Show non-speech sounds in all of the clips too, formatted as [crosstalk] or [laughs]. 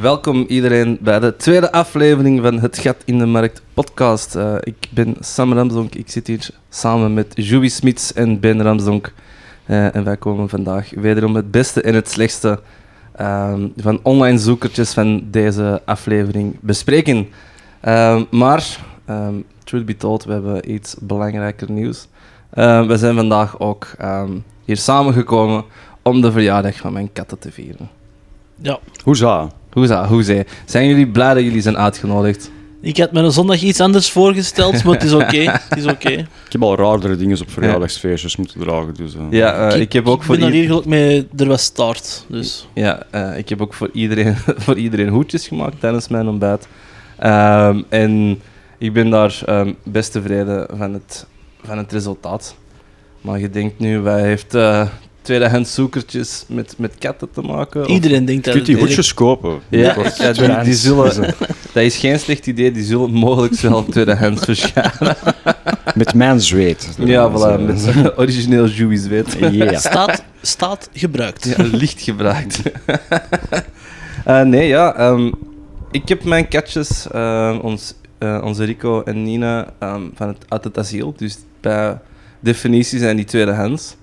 Welkom iedereen bij de tweede aflevering van Het Gat in de Markt podcast. Eh, ik ben Sam Ramsdonk, ik zit hier samen met Joey Smits en Ben Ramsdonk. Eh, en wij komen vandaag wederom het beste en het slechtste ehm, van online zoekertjes van deze aflevering bespreken. Ehm, maar, ehm, truth be told, we hebben iets belangrijker nieuws. Eh, we zijn vandaag ook ehm, hier samengekomen om de verjaardag van mijn katten te vieren. Ja, Hoeza. Hoeza, hoezé. Zijn jullie blij dat jullie zijn uitgenodigd? ik had me een zondag iets anders voorgesteld, maar het is oké. [laughs] Het is oké. Ik heb al raardere dingen op verjaardagsfeestjes moeten dragen. Dus, eh. Ja, eh, ik heb ook voor ben ieder- hier gelukkig mee, er was taart, dus... ja, eh, ik heb ook voor iedereen, [laughs] voor iedereen hoedjes gemaakt tijdens mijn ontbijt. Ehm, en ik ben daar ehm, best tevreden van het, van het resultaat. Maar je denkt nu, wij heeft eh tweedehands zoekertjes met, met katten te maken? of- Oh. Iedereen denkt Je dat kunt die het hoedjes kopen. Ja, Kort. ja, die, die Tweedehands. zullen, dat is geen slecht idee, die zullen mogelijk [laughs] wel tweedehands verschijnen. Met mijn zweet. Ja, voilà, Dus, met [laughs] origineel Jewish weet. eh, yeah. staat, staat gebruikt. Ja, [laughs] licht gebruikt. Eh, nee, ja. ehm, ik heb mijn katjes, ehm, ons, eh, onze Rico en Nina, ehm, van het, uit het asiel. Dus bij definitie zijn die tweedehands.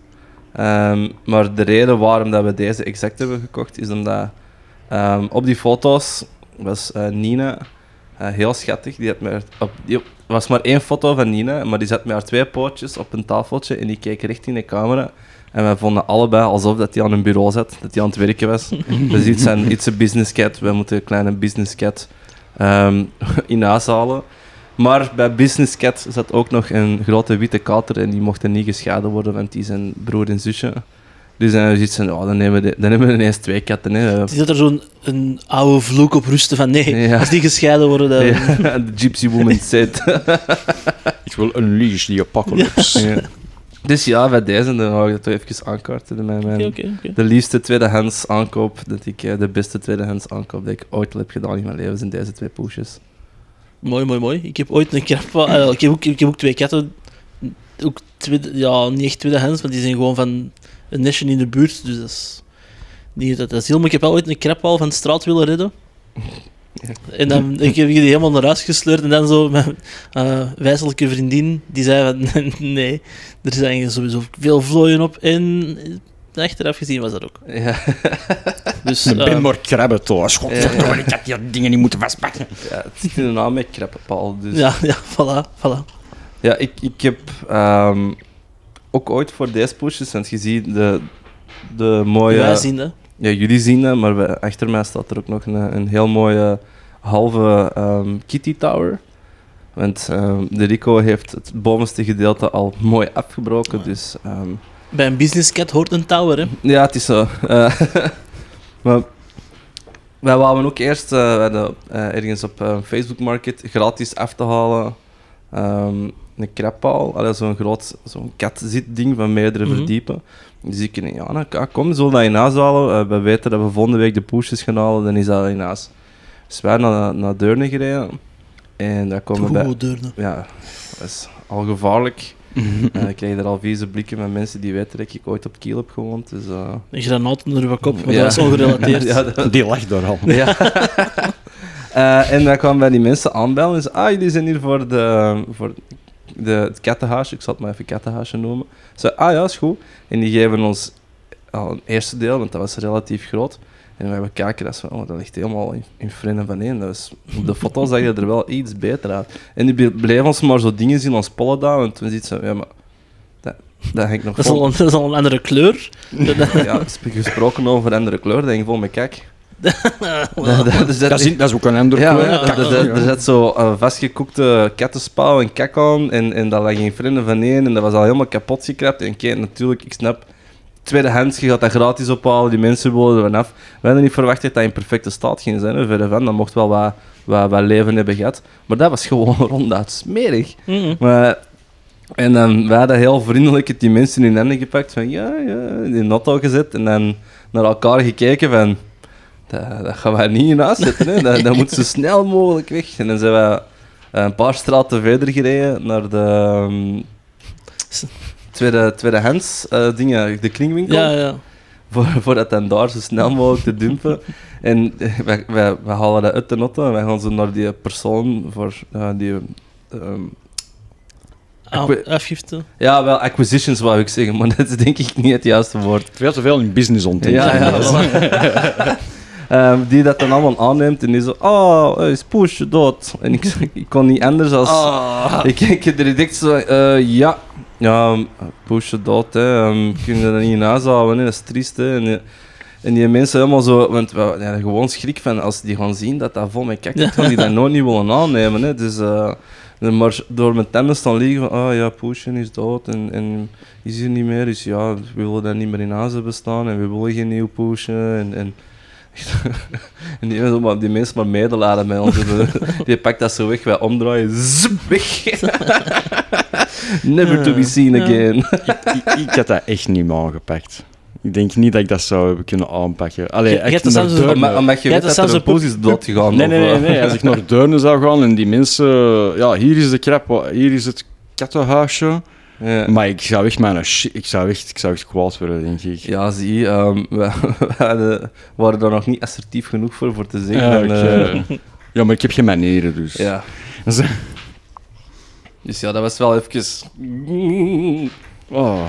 Ehm maar de reden waarom dat we deze exact hebben gekocht, is omdat ehm, op die foto's was eh, Nina eh, heel schattig. Die had maar op, die- was maar één foto van Nina, maar die zat met haar twee pootjes op een tafeltje en die keek recht in de camera. En wij vonden allebei alsof dat hij aan een bureau zat, dat hij aan het werken was. dus iets aan, iets een business cat, wij moeten een kleine business cat ehm, [laughs] in huis halen. Maar bij business cat zat ook nog een grote witte kater en die mochten niet gescheiden worden, want die zijn broer en zusje. Dus dan zit ze, oh, dan nemen we, de- dan hebben we ineens twee katten. Hè. Het is dat er zo'n een oude vloek op rusten van nee, Ja. als die gescheiden worden, dan... Ja, [laughs] de Gypsy Woman set. [laughs] Ik wil unleash die apocalypse. Dus ja, bij deze dan wou ik dat toch even aankaarten. Mijn, mijn, Oké, oké, oké. De liefste tweedehands aankoop, dat ik, eh, de beste tweedehands aankoop dat ik ooit heb gedaan in mijn leven, zijn deze twee poesjes. Mooi, mooi, mooi. Ik heb ooit een krabpa... eh, ik, heb ook, ik heb ook twee katten. Ook tweede, ja, niet echt tweedehands, maar die zijn gewoon van een nestje in de buurt. Dus dat is niet uit het asiel. Maar ik heb wel ooit een krabpaal van de straat willen redden. En [laughs] dan ik heb die helemaal naar huis gesleurd. En dan zo mijn eh, wijselijke vriendin, die zei van... [laughs] Nee, er zijn sowieso veel vlooien op. En eh, achteraf gezien was dat ook. Ja, Dus, Ik eh, ben maar krabben toch. Godverdomme, ik had die dingen niet moeten vastpakken. [laughs] ja het zit in de naam met krappenpaal. Dus. ja, ja, voilà, voilà. Ja, ik, ik heb ehm, ook ooit voor deze poesjes, want je ziet de, de mooie... Wij zien dat. Ja, jullie zien dat, maar we- achter mij staat er ook nog een, een heel mooie halve ehm, kitty tower. Want ehm, de Rico heeft het bovenste gedeelte al mooi afgebroken, dus... ehm, Bij een business cat hoort een tower, hè. ja, het is zo. Eh, [laughs] maar wij wouden ook eerst eh, we hadden, eh, ergens op eh, Facebook Market gratis af te halen ehm, een krabpaal. Allee, zo'n groot zo'n katzitding van meerdere Mhm. verdiepen. Dus ik denk, ja, nou, ka- kom, zullen we dat in huis halen? Eh, we weten dat we volgende week de poesjes gaan halen, dan is dat in huis. Dus wij naar, naar Deurne gereden. En daar komen we bij Goed, deurne. ja, dat is al gevaarlijk. Eh, ik krijg er al vieze blikken van mensen die weten dat ik ooit op Kiel heb gewoond. Dus, eh, Een granaat onder uw kop, maar Ja. dat is ongerelateerd. [laughs] ja, dat- Die lag daar al. ja. [laughs] Eh, en dan kwamen wij die mensen aanbellen en zeiden, ah, jullie zijn hier voor, de, voor de, het kattenhuisje. Ik zal het maar even kattenhuisje noemen. Ze ah ja, is goed. En die geven ons al een eerste deel, want dat was relatief groot. En wij bekijken dat zo, oh, dat ligt helemaal in, in vrennen van één. Dat was, op de foto zag je er wel iets beter uit. En die be- bleef ons maar zo dingen zien, ons pollen daar. En toen ziet ze, ja, maar dat, dat hang ik nog Dat, is vol. al een, dat is al een andere kleur. [laughs] Ja, sp- gesproken over andere kleur, dat hing vol met kijk. [laughs] dus Dat is, dat is ook een ander ja, kleur. ja, Kak, er- er- er zat zo eh, vastgekoekte kattenspauw en kak aan en, en dat lag geen vrienden van één en dat was al helemaal kapot gekrapt. En kijk, natuurlijk, ik snap, tweedehands, je gaat dat gratis ophalen, die mensen wilden er vanaf. We hadden niet verwacht dat dat in perfecte staat ging zijn, hè, verre van, dat mocht wel wat, wat, wat leven hebben gehad. Maar dat was gewoon [laughs] ronduit smerig. Mhm. Maar, en dan, wij hadden heel vriendelijk het die mensen in hun handen gepakt, van ja, ja, in de auto gezet en dan naar elkaar gekeken van, dat, dat gaan wij niet in huis zetten, hè. Dat, dat moet zo snel mogelijk weg. En dan zijn we een paar straten verder gereden naar de ehm, tweede, tweedehands eh, dingen, de kringwinkel. Ja, ja. voor, voor dat dan daar zo snel mogelijk te dumpen. En eh, wij, wij, wij halen dat uit de notte en wij gaan ze naar die persoon voor eh, die... ehm, Ah, weet- Afgifte. ja, wel, acquisitions wou ik zeggen, maar [laughs] dat is denk ik niet het juiste woord. Veel te veel in business ontdekken. Ja, ja, voilà. [laughs] Ehm, die dat dan allemaal aanneemt en die zo, oh, eh, is push dood. En ik, ik kon niet anders als. Ah. [laughs] Ik kijk er direct zo, eh, ja, ja, push dood, hè. Um, kunnen we dat niet in huis houden, hè. dat is triest. Hè. En, die- en die mensen helemaal zo, want we hadden er gewoon schrik van als die gaan zien dat dat vol met kijk is, gaan die dat nooit niet willen aannemen. Hè. Dus, eh, maar door mijn tanden staan liggen van, ah ja, Poesje is dood en, en is hier niet meer. Dus ja, we willen dat niet meer in huis hebben staan en we willen geen nieuw Poesje. En, en, [laughs] en die, mensen maar- die mensen maar medeladen met ons. Die pakt dat zo weg, wij omdraaien, zup, weg. [laughs] Never to be seen Ja. again. ik, ik had dat echt niet meer aangepakt. Ik denk niet dat ik dat zou hebben kunnen aanpakken. Allee, Je- je echt hebt dat naar zelfs eens- Deurne. Omdat, omdat je Ja, weet dat dat zou er zo een Poes is doodgegaan. Nee, nee, of, nee, eh, nee. Als ik naar Deurne zou gaan en die mensen... Ja, hier is de krap, hier is het kattenhuisje. ja. Maar ik zou echt mijn shit... Ik zou echt, ik zou echt kwaad worden, denk ik. Ja, zie, je, ehm, [laughs] we, we hadden- waren daar nog niet assertief genoeg voor, voor te zeggen. Ja, en, ik, eh, eh, ja, maar ik heb geen manieren, dus... [laughs] ja. Zo. Dus ja, dat was wel even. Oh.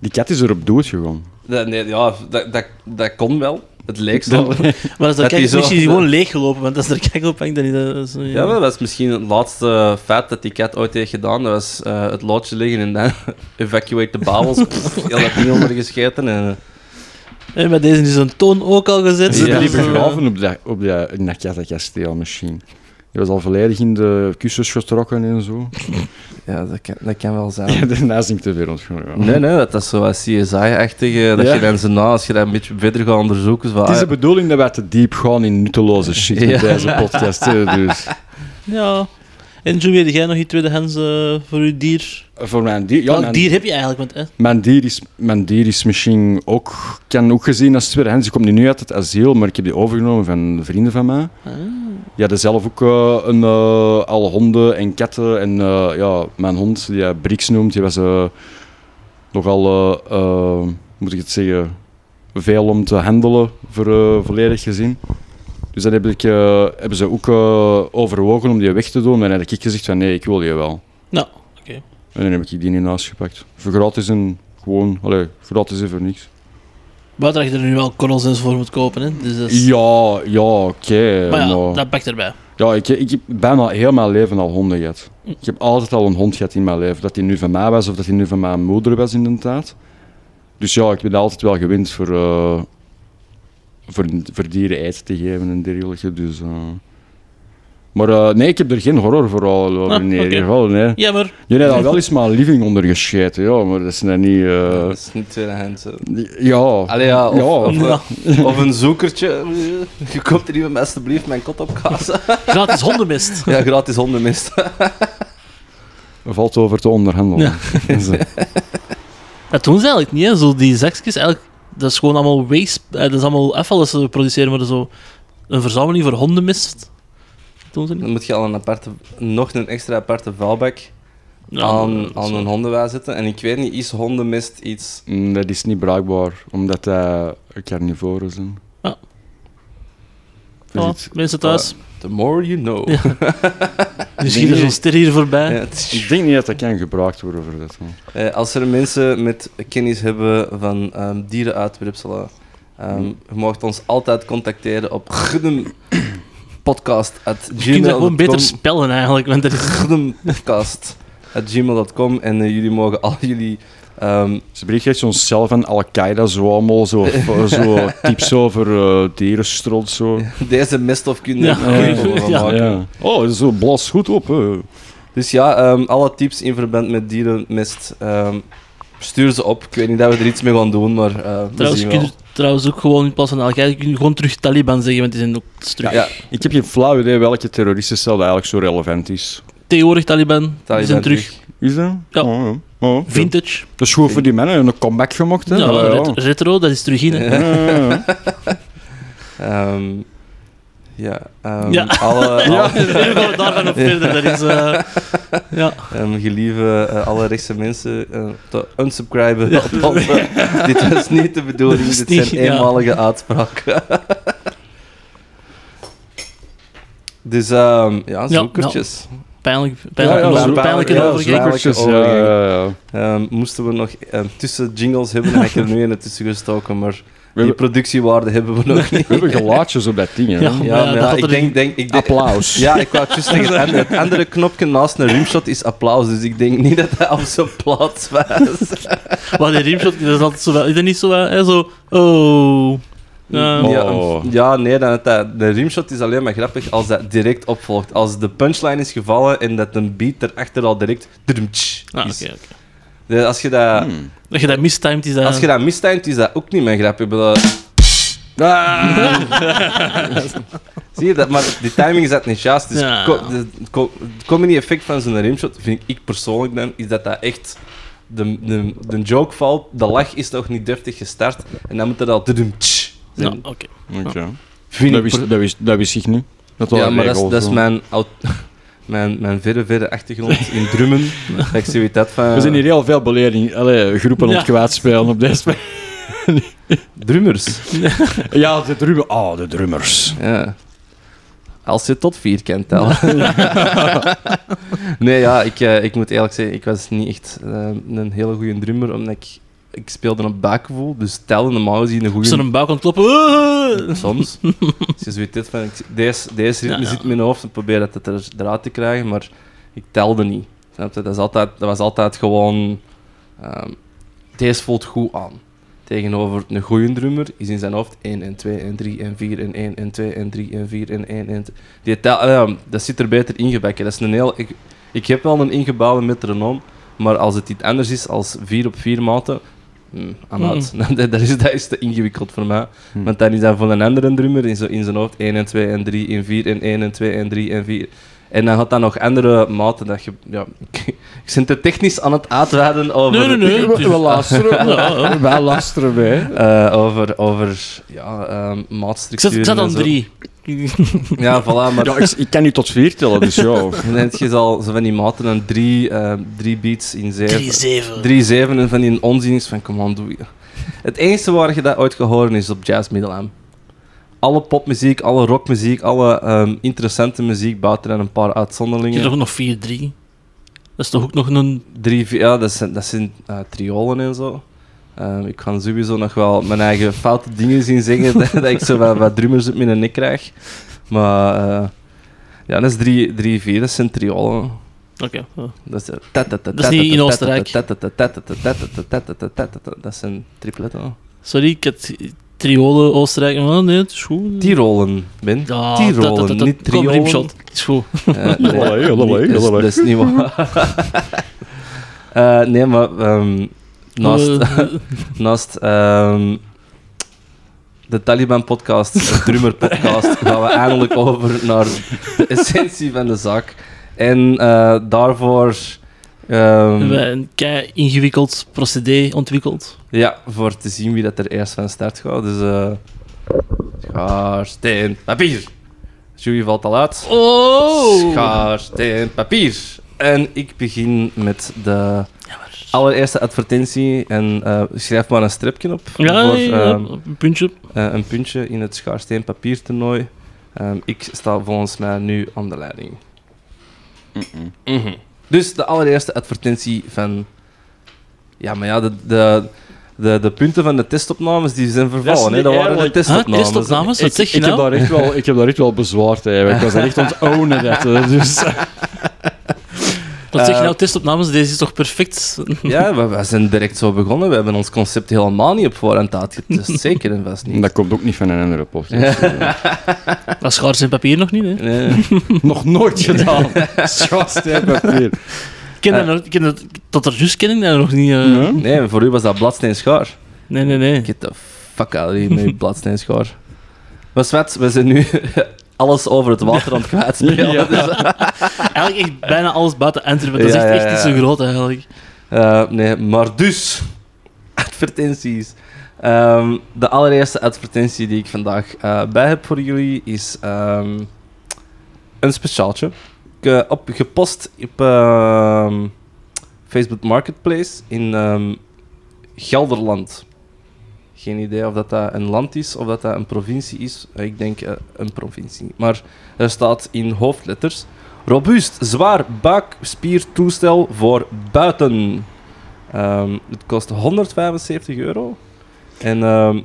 Die kat is erop dood gegaan. [laughs] Dat, nee, ja, dat, dat, dat kon wel. Het leek zo. Maar als Dat dat kijk, die is zo- misschien gewoon leeggelopen, want als er kijk op hangt, dan is dat zo... Ja, maar dat was misschien het laatste feit dat die cat ooit heeft gedaan. Dat was eh, het loodje liggen en dan [laughs] evacuate the [laughs] bowels. Pff, Ja, dat niet onder gescheten. En, eh, Hé, maar deze is dus een toon ook al gezet. Ze hebben Ja. die Dus, eh, begraven op dat, op dat, in dat kattenkasteel misschien. Die was al volledig in de kussens getrokken [laughs] en zo. ja, dat kan, dat kan wel zijn. Ja, daarna is niet te veel ontgaan. Nee, nee, dat is zo wat CSI-achtig. Dat Ja. je dan zo na, als je dat een beetje verder gaat onderzoeken. is van, Het is ah, de bedoeling dat wij te diep gaan in nutteloze shit Ja. met deze podcast. hè, Dus. Ja. En Julie, heb jij nog die tweedehands eh voor je dier? Voor mijn dier, ja, Welk mijn, dier heb je eigenlijk? Want, eh, mijn dier is, mijn dier is misschien ook, kan ook gezien als tweedehands. Die komt nu uit het asiel, maar ik heb die overgenomen van vrienden van mij. Die hadden zelf ook eh, een, eh, al honden en katten. En eh, ja, mijn hond, die hij Brix noemt, die was eh, nogal, eh, eh, moet ik het zeggen, veel om te handelen voor eh, volledig gezien. Dus dan heb ik, eh, hebben ze ook eh, overwogen om die weg te doen. Maar dan heb ik gezegd van nee, ik wil je wel. Nou, oké. En dan heb ik die in huis gepakt. Voor gratis en gewoon, allee, gratis en voor niks. Buiten dat je er nu wel korrels en zo voor moet kopen, hè? Dus dat is- Ja, ja, oké. maar ja, maar- dat pakt erbij. Ja, ik, ik heb bijna heel mijn leven al honden gehad. Ik heb altijd al een hond gehad in mijn leven. Dat die nu van mij was of dat die nu van mijn moeder was, inderdaad. Dus ja, ik ben altijd wel gewend voor, eh, voor, voor dieren eten te geven en dergelijke. Dus, eh. Maar eh, nee, ik heb er geen horror voor al over Ah, in ieder oké. geval. Nee. Jammer. Je hebt daar wel eens maar een living onder gescheten, ja, maar dat is dan niet... eh, Dat is niet tweedehands. hè. ja. Allee, ja, of, Ja. Of, Ja. of een zoekertje. Je komt er iemand met alsjeblieft mijn kot op [laughs] kassen. Gratis hondenmest. Ja, gratis hondenmest. Er valt over te onderhandelen. Ja. [laughs] Dus, eh, Dat doen ze eigenlijk niet, hè? Zo die zakjes, eigenlijk, dat is gewoon allemaal waste. eh, Dat is allemaal afval dat ze produceren, maar zo een verzameling voor hondenmest. Dat doen ze niet. Dan moet je al een aparte, nog een extra aparte vuilbak aan, aan een hondenwaar zetten. En ik weet niet, is hondenmest iets... mm, dat is niet bruikbaar, omdat dat carnivoren zijn. Ah. Dat is Voilà, iets- mensen thuis. The more you know. Ja. Nu schiet er Nee. zo'n ster hier voorbij. Ja, het is- Ik denk niet dat dat kan gebruikt worden voor dat. man. Eh, als er mensen met kennis hebben van ehm dierenuitwerpselen, ehm Hmm. je mag ons altijd contacteren op Je kunt dat gewoon beter gmail.com spellen eigenlijk, want dat is... gmail.com en eh, jullie mogen al jullie... ehm, [laughs] Ze Dus bericht echt zo'n cel van Al-Qaeda, zo [laughs] allemaal, zo, zo tips over eh dierenstrot, zo. deze meststofkunde [laughs] Ja. kunnen we Ja. maken. Ja. Oh, zo blas goed op. hè. Dus ja, ehm, alle tips in verband met dierenmest, ehm, stuur ze op. Ik weet niet dat we er iets mee gaan doen, maar eh, we Trouwens, zien kun wel. je trouwens ook gewoon in plaats van Al-Qaeda kun je gewoon terug Taliban zeggen, want die zijn ook terug. Ja, Ik heb geen flauw idee welke terroristencel dat eigenlijk zo relevant is. Tegenwoordig Taliban, die Taliban zijn terug. Is dat? Ja. Oh, ja. Oh, ja. Vintage. Dat is goed voor die mannen, een comeback gemocht. Hè? Ja, Allee, [laughs] ja. ret- retro, dat is terug in. hè. Ja, ja, ja. Ehm, Ja, ehm, Ja. Alle, [laughs] alle- Ja, we gaan we daarvan nog verder. Dat is, eh, ja. ehm, gelieve eh, alle rechtse mensen eh, te unsubscriben. op [laughs] onze- dit was niet de bedoeling, Dat is dit niet- zijn ja. eenmalige uitspraken. [laughs] dus ehm, ja, zoekertjes. Pijnlijk, pijnlijk, Ja, ja, over- zo- pijnlijke ja, overgang. zwaar. zoekertjes, ja, overgang. ja, ja. Ehm, moesten we nog ehm, tussen jingles hebben, dan heb ik er nu in het tussen gestoken, maar We die hebben- productiewaarde hebben we nog we niet. hebben gelaatjes op dat ding, hè. Ja. Ja, maar dat ja, had ik er- denk, denk, ik denk, Applaus. Ja, ik wou het juist zeggen. Het andere- Het andere knopje naast een rimshot is applaus, dus ik denk niet dat dat op zijn plaats was. Maar die rimshot, dat is altijd zo wel... Is dat niet zo wel... Hè, zo... Oh... Ja. Ja, Oh. ja, nee, dan het, de rimshot is alleen maar grappig als dat direct opvolgt. Als de punchline is gevallen en dat een beat erachter al direct... drumtsch Ah, is. oké, oké. Dus als je dat, Hmm. Dat je dat mistimed is dat... als je dat mistimt, is dat ook niet meer grappig. Ik bedoel, Ah. Zie je dat? Maar die timing is dat niet juist. Dus Ja. ko- de- ko- het comedy-effect van zo'n rimshot, vind ik persoonlijk dan, is dat dat echt... De, de, de joke valt, de lach is nog niet deftig gestart, en dan moet dat al... tudum tsch Ja, zijn. Nou, oké. Oké. Vind Dat ik wist- Dat wist- dat wist ik niet. Dat Ja, waren maar dat is, regels, dat is hoor. mijn, oud- [laughs] mijn, mijn verre, verre achtergrond in [laughs] drummen. Dat ik zoiets had van... We zijn hier heel veel beleding, allee, groepen Ja. aan het kwijtspelen op deze manier. Drummers. Ja, de drummer. Ah, de drummers. Ja. Als je tot vier kent tellen. [laughs] nee, ja, ik, eh, ik moet eerlijk zeggen, ik was niet echt eh, een hele goede drummer, omdat ik, ik speelde op buikgevoel, dus tellen normaal gezien een goede... Zo'n bouw kan kloppen... Oh. Soms. Als je zoiets hebt van, ik- deze, deze ritme Ja, ja. zit in mijn hoofd en probeer dat er, eruit te krijgen, maar ik telde niet. Snap je? Dat, is altijd, dat was altijd gewoon... ehm, deze voelt goed aan. Tegenover een goede drummer is in zijn hoofd 1 en 2 en 3 en 4 en 1 en 2 en 3 en 4 en 1 en... t- Die tel, ja, dat zit er beter ingebakken. Dat is een heel... Ik, ik heb wel een ingebouwde metronoom, maar als het iets anders is als 4 op 4 maten... hm, I'm out. [laughs] dat, dat is, dat is te ingewikkeld voor mij. Mm. Hm. Want dan is dat van een andere drummer in, zo, in zijn hoofd 1 en 2 en 3 en 4 en 1 en 2 en 3 en 4. En dan had dat nog andere maten. Dat je, ja, [laughs] ik, ik ben te technisch aan het uitweiden over... Nee, nee, nee. het is- We luisteren. Ja, ja. Wij luisteren mee. Eh, over, over ja, ehm Ik zat, maatstructuren. ik zat aan en zo. drie. Ja, voilà, [laughs] maar Ja, ik, ik kan nu tot vier tellen, dus ja. dan heb je al zo van die maten en drie, ehm, drie beats in Drie, zeven. zeven. Drie zeven en van die onzinnings van, come on, doe je. Het enige waar je dat ooit gehoord is op Jazz Middelheim. Alle popmuziek, alle rockmuziek, alle ehm, interessante muziek, buiten en een paar Je hebt uitzonderingen. toch nog vier, drie? Dat is toch ook nog een... Drie, vier, ja, dat zijn, dat zijn eh, triolen en zo. Ehm, ik kan sowieso nog wel mijn eigen foute dingen zien zingen, [laughs] dat, dat ik zo wat, wat drummers op mijn nek krijg. Maar eh, ja, dat is drie, drie, vier, dat zijn triolen. Oké. ja. Dat is, eh, tat, tat, tat, Dat is niet tat, in tat, Oostenrijk. tat, tat, tat, tat, tat, tat, tat, tat, tat, tat, Dat zijn tripletten. Sorry, ik had triolen, Oostenrijk... Oh, nee, het is goed. Tirolen, Ben. Ja, dat- dat- Tirolen, dat- niet Kom, triolen. rimshot. Is goed. Eh, nee, Lallee, lallee, niet- dat is- lallee. Dat is niet waar. Eh, Nee, maar ehm, naast... Eh, Naast ehm, de Taliban-podcast, [laughs] de Drummer-podcast, gaan we eindelijk over naar de essentie van de zaak. En eh, daarvoor... We ehm, hebben een kei ingewikkeld procedé ontwikkeld. ja, voor te zien wie dat er eerst van start gaat. Dus... eh schaar, steen, papier. Jury valt al uit. Oh! Schaar, steen, papier. En ik begin met de Jammer. allereerste advertentie. En eh, schrijf maar een stripje op. Ja, voor, ja, ehm, een puntje. eh, een puntje in het schaarsteen papier toernooi. Ehm, ik sta volgens mij nu aan de leiding. Mhm. Dus de allereerste advertentie van. Ja, maar ja, de, de, de, de punten van de testopnames die zijn Dat is vervallen. niet hè. Dat waren de eerlijk. testopnames. Huh? Testopnames? Wat Ik, zeg je ik, heb nou? daar echt wel, ik heb daar echt wel bezwaar tegen. Ik was daar echt ontownen. Dat, eh, dus. Wat zeg je eh, nou? Testopnames, deze is toch perfect? [laughs] Ja, we, we zijn direct zo begonnen. We hebben ons concept helemaal niet op voorhand uitgetest. Zeker en vast niet. dat komt ook niet van een andere podcast. Dat schaars in papier nog niet, hè? [laughs] Nee. Nog nooit [laughs] gedaan. [laughs] Schaarsteen Ik ken Eh. dat nog- ik ken dat- tot er juist ken ik dat nog niet. eh. nee, voor u was dat bladsteen schaar. Nee, nee, [laughs] nee. Get the fuck out of here met je bladsteinschaar. Maar Svet, we zijn nu [laughs] alles over het water aan het kwijtspelen. Ja. Dus, [laughs] Eigenlijk echt bijna alles buiten Antwerpen. Dat is Ja, echt, ja, echt niet ja. zo groot, eigenlijk. eh, nee, maar dus, [laughs] advertenties. Ehm, de allereerste advertentie die ik vandaag eh, bij heb voor jullie is ehm, een speciaaltje. Ge- op, gepost op ehm, Facebook Marketplace in ehm, Gelderland. Geen idee of dat, dat een land is of dat, dat een provincie is. Eh, Ik denk eh, een provincie. Maar er staat in hoofdletters: Robuust, zwaar buikspiertoestel voor buiten. Ehm, het kost 175 euro. En ehm,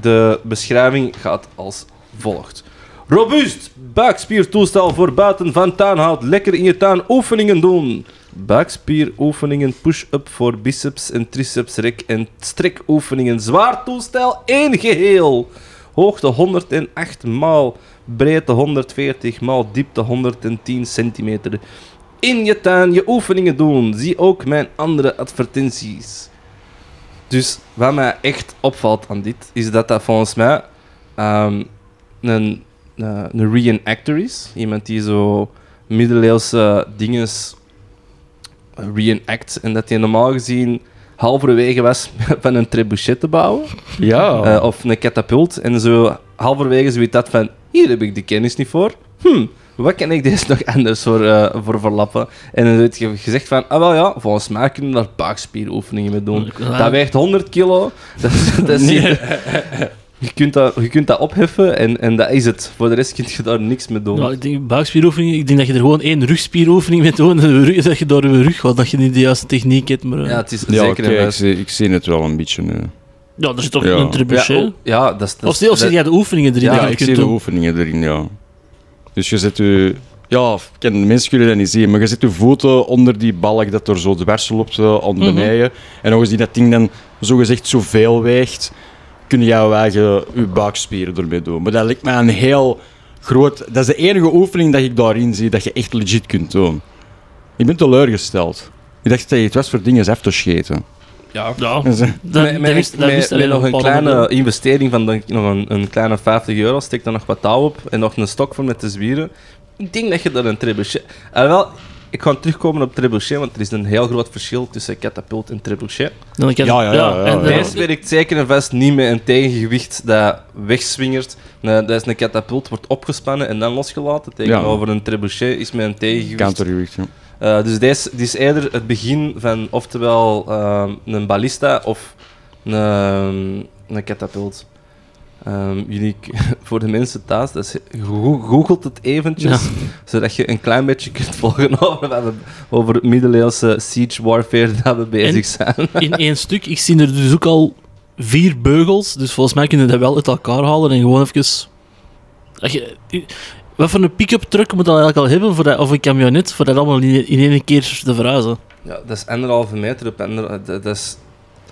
de beschrijving gaat als volgt. Robuust buikspiertoestel voor buiten van tuin houdt. Lekker in je tuin oefeningen doen. Buikspieroefeningen, push-up voor biceps en triceps rek en strekoefeningen. Zwaar toestel, één geheel. Hoogte 108 maal, breedte 140 maal, diepte 110 centimeter. In je tuin je oefeningen doen. Zie ook mijn andere advertenties. Dus wat mij echt opvalt aan dit, is dat dat volgens mij ehm, een, eh, een reenactor is. Iemand die zo middeleeuwse dingen reenact. En dat hij normaal gezien halverwege was [laughs] van een trebuchet te bouwen. Ja. Oh. Eh, of een katapult. En zo halverwege zoiets dat van, hier heb ik de kennis niet voor. Hm, wat kan ik deze [laughs] nog anders voor, eh, voor verlappen? En dan heb je gezegd van, ah wel ja, volgens mij kunnen we daar buikspieroefeningen mee doen. Ja. Dat weegt 100 kilo. [laughs] Dat, is- dat is Nee. je, kunt dat, je kunt dat opheffen en, en dat is het. Voor de rest kun je daar niks mee doen. Ja, ik denk buikspieroefeningen. Ik denk dat je er gewoon één rugspieroefening mee doet. En de rug- dat je door je rug gaat. Dat je niet de juiste techniek hebt. Maar, eh, Ja, ja. het is ja, zeker oké, een ik, wijs. zie, ik zie het wel een beetje eh, nu. er zit toch Ja. een trebuchet. Ja, oh, ja, dat is... dat of is- zie of zie dat- jij de oefeningen erin? Ja, Ja, dat je ik kunt zie de doen? oefeningen erin, ja. Dus je zet je... Ja, ik ken, de mensen kunnen dat niet zien, maar je zet je voeten onder die balk dat er zo dwars loopt eh, onder de Mhm. eigen. En nog eens die dat ding dan zogezegd zoveel weegt, kun je jouw eigen je buikspieren ermee doen. Maar dat lijkt mij een heel groot... Dat is de enige oefening dat ik daarin zie dat je echt legit kunt doen. Ik ben teleurgesteld. Ik dacht dat je het was voor dingen af te scheten. Ja, ja. Dat is- Dat- Met- dat met- wist- dat met- wist met alleen nog een Paul kleine Hondel. investering van denk ik, nog een, een kleine 50 euro, steek daar nog wat touw op en nog een stok voor met te zwieren. Ik denk dat je daar een trebuchet... Alhoewel, ik ga terugkomen op trebuchet, want er is een heel groot verschil tussen katapult en trebuchet. Dan kan- Ja, ja, ja, ja, en, ja. eh, Deze werkt zeker en vast niet met een tegengewicht dat wegswingert. Nee, dat is een katapult, wordt opgespannen en dan losgelaten. Tegenover een trebuchet is met een tegengewicht Countergewicht, ja. eh, dus dit is, dit is eerder het begin van oftewel ehm, een ballista of een, een katapult. Ehm, jullie, k- [laughs] voor de mensen thuis, dat is, go- googelt het eventjes, zodat je een klein beetje kunt [laughs] volgen over, wat we- over het middeleeuwse siege warfare dat we bezig zijn. in één stuk. Ik zie er dus ook al vier beugels. Dus volgens mij kunnen we dat wel uit elkaar halen en gewoon even. Als je- Wat voor een pick-up truck moet dat eigenlijk al hebben? Voor dat, of een camionet? Voor dat allemaal in, in één keer te verhuizen. Ja, dat is anderhalve meter op ander, eh, dat, dat is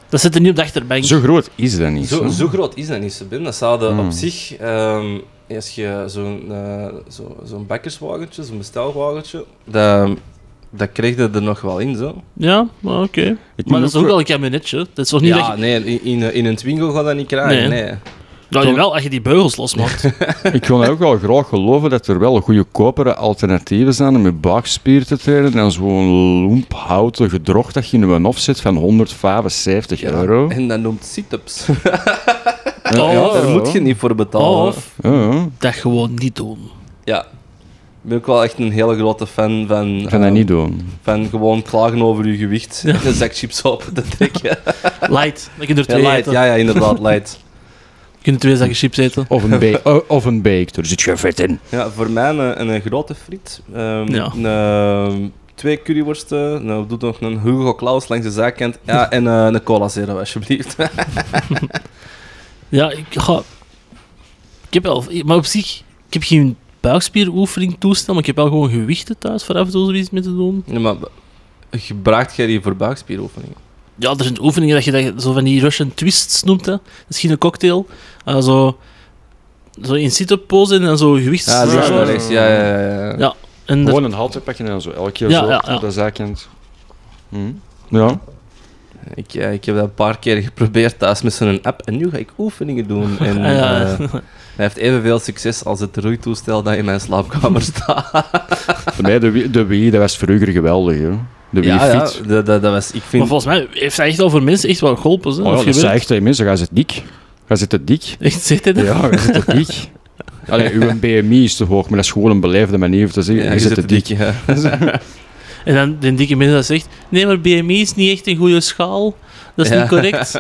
Dat zit er niet op de achterbank. Zo groot is dat niet. Zo, hè? zo groot is dat niet, Sabine. Dat zouden Hmm. op zich, ehm, als je zo'n eh, zo, zo'n bakkerswagentje, zo'n bestelwagentje, dat, dat kreeg je er nog wel in. Zo. Ja, maar oké. Ik Maar moet dat is ook- ook wel een camionetje. Dat is toch niet Ja, dat je... nee, in- in, in een Twingo gaat dat niet krijgen. Nee. Nee. Nou, jawel, als je die [laughs] beugels losmaakt. Ik wil ook wel graag geloven dat er wel goede kopere alternatieven zijn om je buikspier te trainen dan zo'n lomp houten gedrocht dat je in een offset van 175 Ja, euro. En dat noemt sit-ups. [laughs] Ja, Oh. ja, Daar ja. moet je niet voor betalen. of Ja, ja. dat gewoon niet doen. Ja. Ik ben ook wel echt een hele grote fan van, Ik ga dat eh, niet doen. van gewoon klagen over je gewicht en [laughs] een zak chips open te trekken. Light. Dat je er Ja, twee light, eten. ja, ja, inderdaad, [laughs] light. Je kunt twee zakken chips eten. Of een, [laughs] ba- o- of een bake, daar zit je vet in. Ja, voor mij een, een, grote friet. Ehm, Ja. een, ehm, twee curryworsten. Nou, doe nog een Hugo Claus langs de zijkant. Ja, en eh, een cola zero, [laughs] alsjeblieft. Ja, ik ga... Ik heb wel... Maar op zich, ik heb geen buikspieroefening toestel, maar ik heb wel gewoon gewichten thuis voor af en toe zoiets mee te doen. nee, maar gebruikt jij die voor buikspieroefeningen? Ja, er zijn oefeningen dat je dat, zo van die Russian twists noemt, hè. Misschien een cocktail. Eh, zo, zo in sit-up pose en dan zo gewichts... Ja, dat is links waar. en rechts. Ja, ja, ja. ja. Ja. en er- Gewoon een halter pakken en dan zo elke keer Ja, zo ja, op ja. dat zijkant. Hm. Ja. Ik, eh, ik heb dat een paar keer geprobeerd thuis met zo'n app. En nu ga ik oefeningen [laughs] doen. En, Ah, ja. eh, dat heeft evenveel succes als het roeitoestel dat in mijn slaapkamer [laughs] staat. Voor mij, de, Wii- de Wii, dat was vroeger geweldig, hoor. De ja, ja, Wii-fiets. dat, dat, dat was... Ik Maar vind... volgens mij heeft dat echt al voor mensen echt wel geholpen. Hè? Oh, Of ja, dat gewerkt. zei echt tegen mensen, gaan ze dik. Gaan ze te dik. Echt, zegt hij dat? Ja, je zit te dik. [laughs] Allee, uw BMI is te hoog, maar dat is gewoon een beleefde manier om te zeggen, Ja, je zit te dik. ja. [laughs] En dan de dikke mensen dat zegt, nee, maar BMI is niet echt een goede schaal. Dat is Ja. niet [laughs] correct.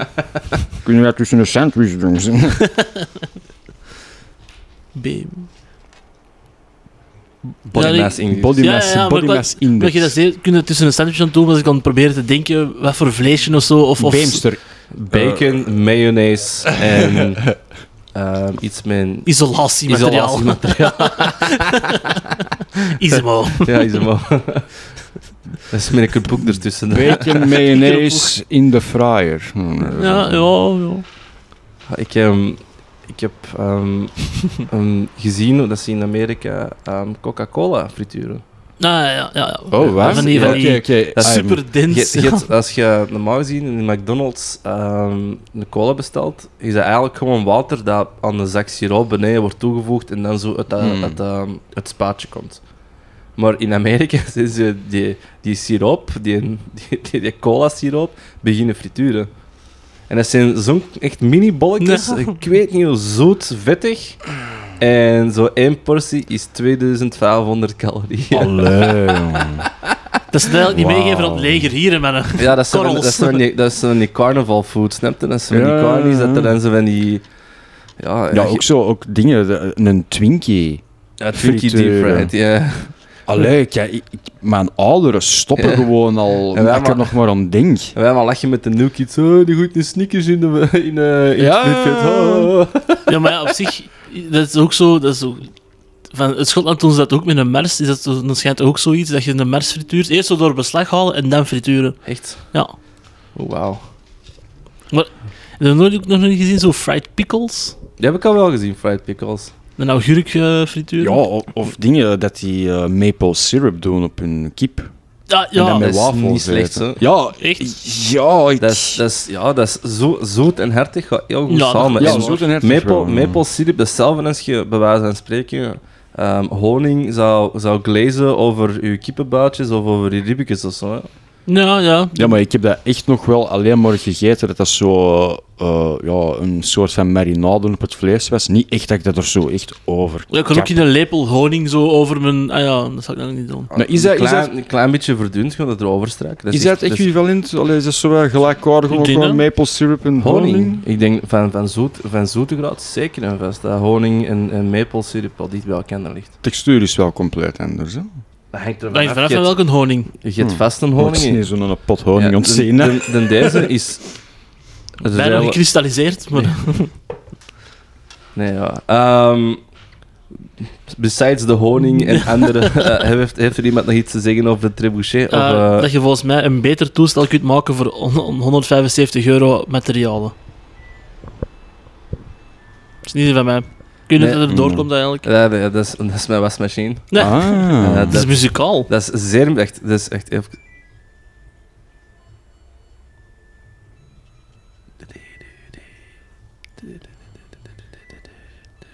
Kunnen we dat tussen een sandwich doen? BMI. Body Ja, mass ik- index. Body Ja, ja, mass, ja, maar body ik wou- mass index. Dat je dat zeer, kun je tussen een sandwich aan doen, maar ik kan proberen te denken wat voor vleesje of zo. Of, of [laughs] Beemster. Bacon, mayonaise en ehm, iets met isolatiemateriaal. [laughs] isolatiemateriaal. Ismo. ja, is hem wel. Dat is met een kaboek ertussen. Bacon mayonaise in de fryer. Hmm. Ja, ja, ja. Ik, ehm, ik heb ehm, ehm, gezien hoe dat ze in Amerika ehm, Coca-Cola frituren. Nou, ja, ja, ja. Oh, waar? Van die, van die Oké, oké. Ah, Dat is I'm- super Je, dens. je hebt- als je normaal gezien in de McDonald's ehm, een cola bestelt, is dat eigenlijk gewoon water dat aan de zak siroop beneden wordt toegevoegd en dan zo uit, dat- Hmm. uit, ehm, het spaatje komt. Maar in Amerika [laughs] zijn ze die, die siroop, die, die, die, die cola siroop, beginnen frituren. En dat zijn zo'n echt mini bolletjes, Ja. ik weet niet hoe zoet, vettig. En zo één portie is 2500 calorieën. [laughs] Allee, jongen. [laughs] Dat ze dat eigenlijk niet Wauw. meegeven aan het leger hier, hè, mannen. Ja, dat is zo van- dat Korrels. is zo van die, dat is zo van die carnival food, snap je? Dat is zo van die Ja, carnies, ja. dat er dan zo van die... Ja, Ja, ook zo, ook dingen, de- een Twinkie. ja, Twinkie deep frituren. fried, ja. [laughs] Allee, ik, ik- mijn ouderen stoppen Ja. gewoon al, En wij dat ik er maar- nog maar aan denk. En wij maar lachen met de new kids, oh, die gooit nu sneakers in de... In, eh in Ja. het Fitbit, oh. Ja, maar ja, op zich, dat is ook zo. Dat is ook, van het Schotland doen ze dat ook met een mers. Is dat, zo- dan schijnt ook zoiets dat je een mers frituurt. Eerst zo door beslag halen en dan frituren. Echt? Ja. Oh, wauw. En dan heb ik ook nog niet gezien, zo fried pickles. Die heb ik al wel gezien, fried pickles. Een augurk eh, frituren. Ja, o- of dingen dat die eh, maple syrup doen op hun kip. Ah, ja. en ja. dan met dat is wafels niet slecht, eten. hè? Ja, Echt? Ja, ik... Dat is, dat is, ja, dat is zo, zoet en hertig, gaat heel goed Ja, dat- samen. ja, En zoet en hertig Maple, wel, ja. maple syrup, dat is hetzelfde als je bij wijze van spreken ehm, honing zou, zou glazen over je kippenboutjes of over je ribbetjes of zo. hè. Ja, ja. Ja, maar ik heb dat echt nog wel alleen maar gegeten. Dat dat zo eh, ja, een soort van marinade op het vlees was. Niet echt dat ik dat er zo echt over Ja, Ik kan ook kap. in een lepel honing zo over mijn. Ah ja, dat zal ik dan niet doen. Maar is een, dat- is klein, een klein beetje verdund, gewoon dat erover strak. Is dat echt- equivalent? Allee, is dat zo wel gelijkaardig Ik ook denk gewoon dat. maple syrup en honing? honing? Ik denk van, van, zoet, van zoetegraad zeker en vast. Dat honing en, en maple syrup al dicht bij elkaar ligt. Textuur is wel compleet anders. Hè? Dat hangt er Dan je vanaf Je van hebt- welke honing. je hebt Hmm. vast een Honing honing in. is zo'n pot honing Ja, ontzien. hè. de- de- de- deze is... dat is Bijna wel- gekristalliseerd, maar Nee, ja. Ehm, besides de honing en andere... eh, heeft, heeft er iemand nog iets te zeggen over de trebuchet? Of, eh, eh, dat je volgens mij een beter toestel kunt maken voor on- on- 175 euro materialen. Dat is niet van mij. Kun je Nee. Mm. dat het er doorkomt eigenlijk? ja, nee, dat, is, dat is mijn wasmachine. Nee. Ah. Ja, Het is muzikaal. Dat is zeer... Echt, dat is echt... even-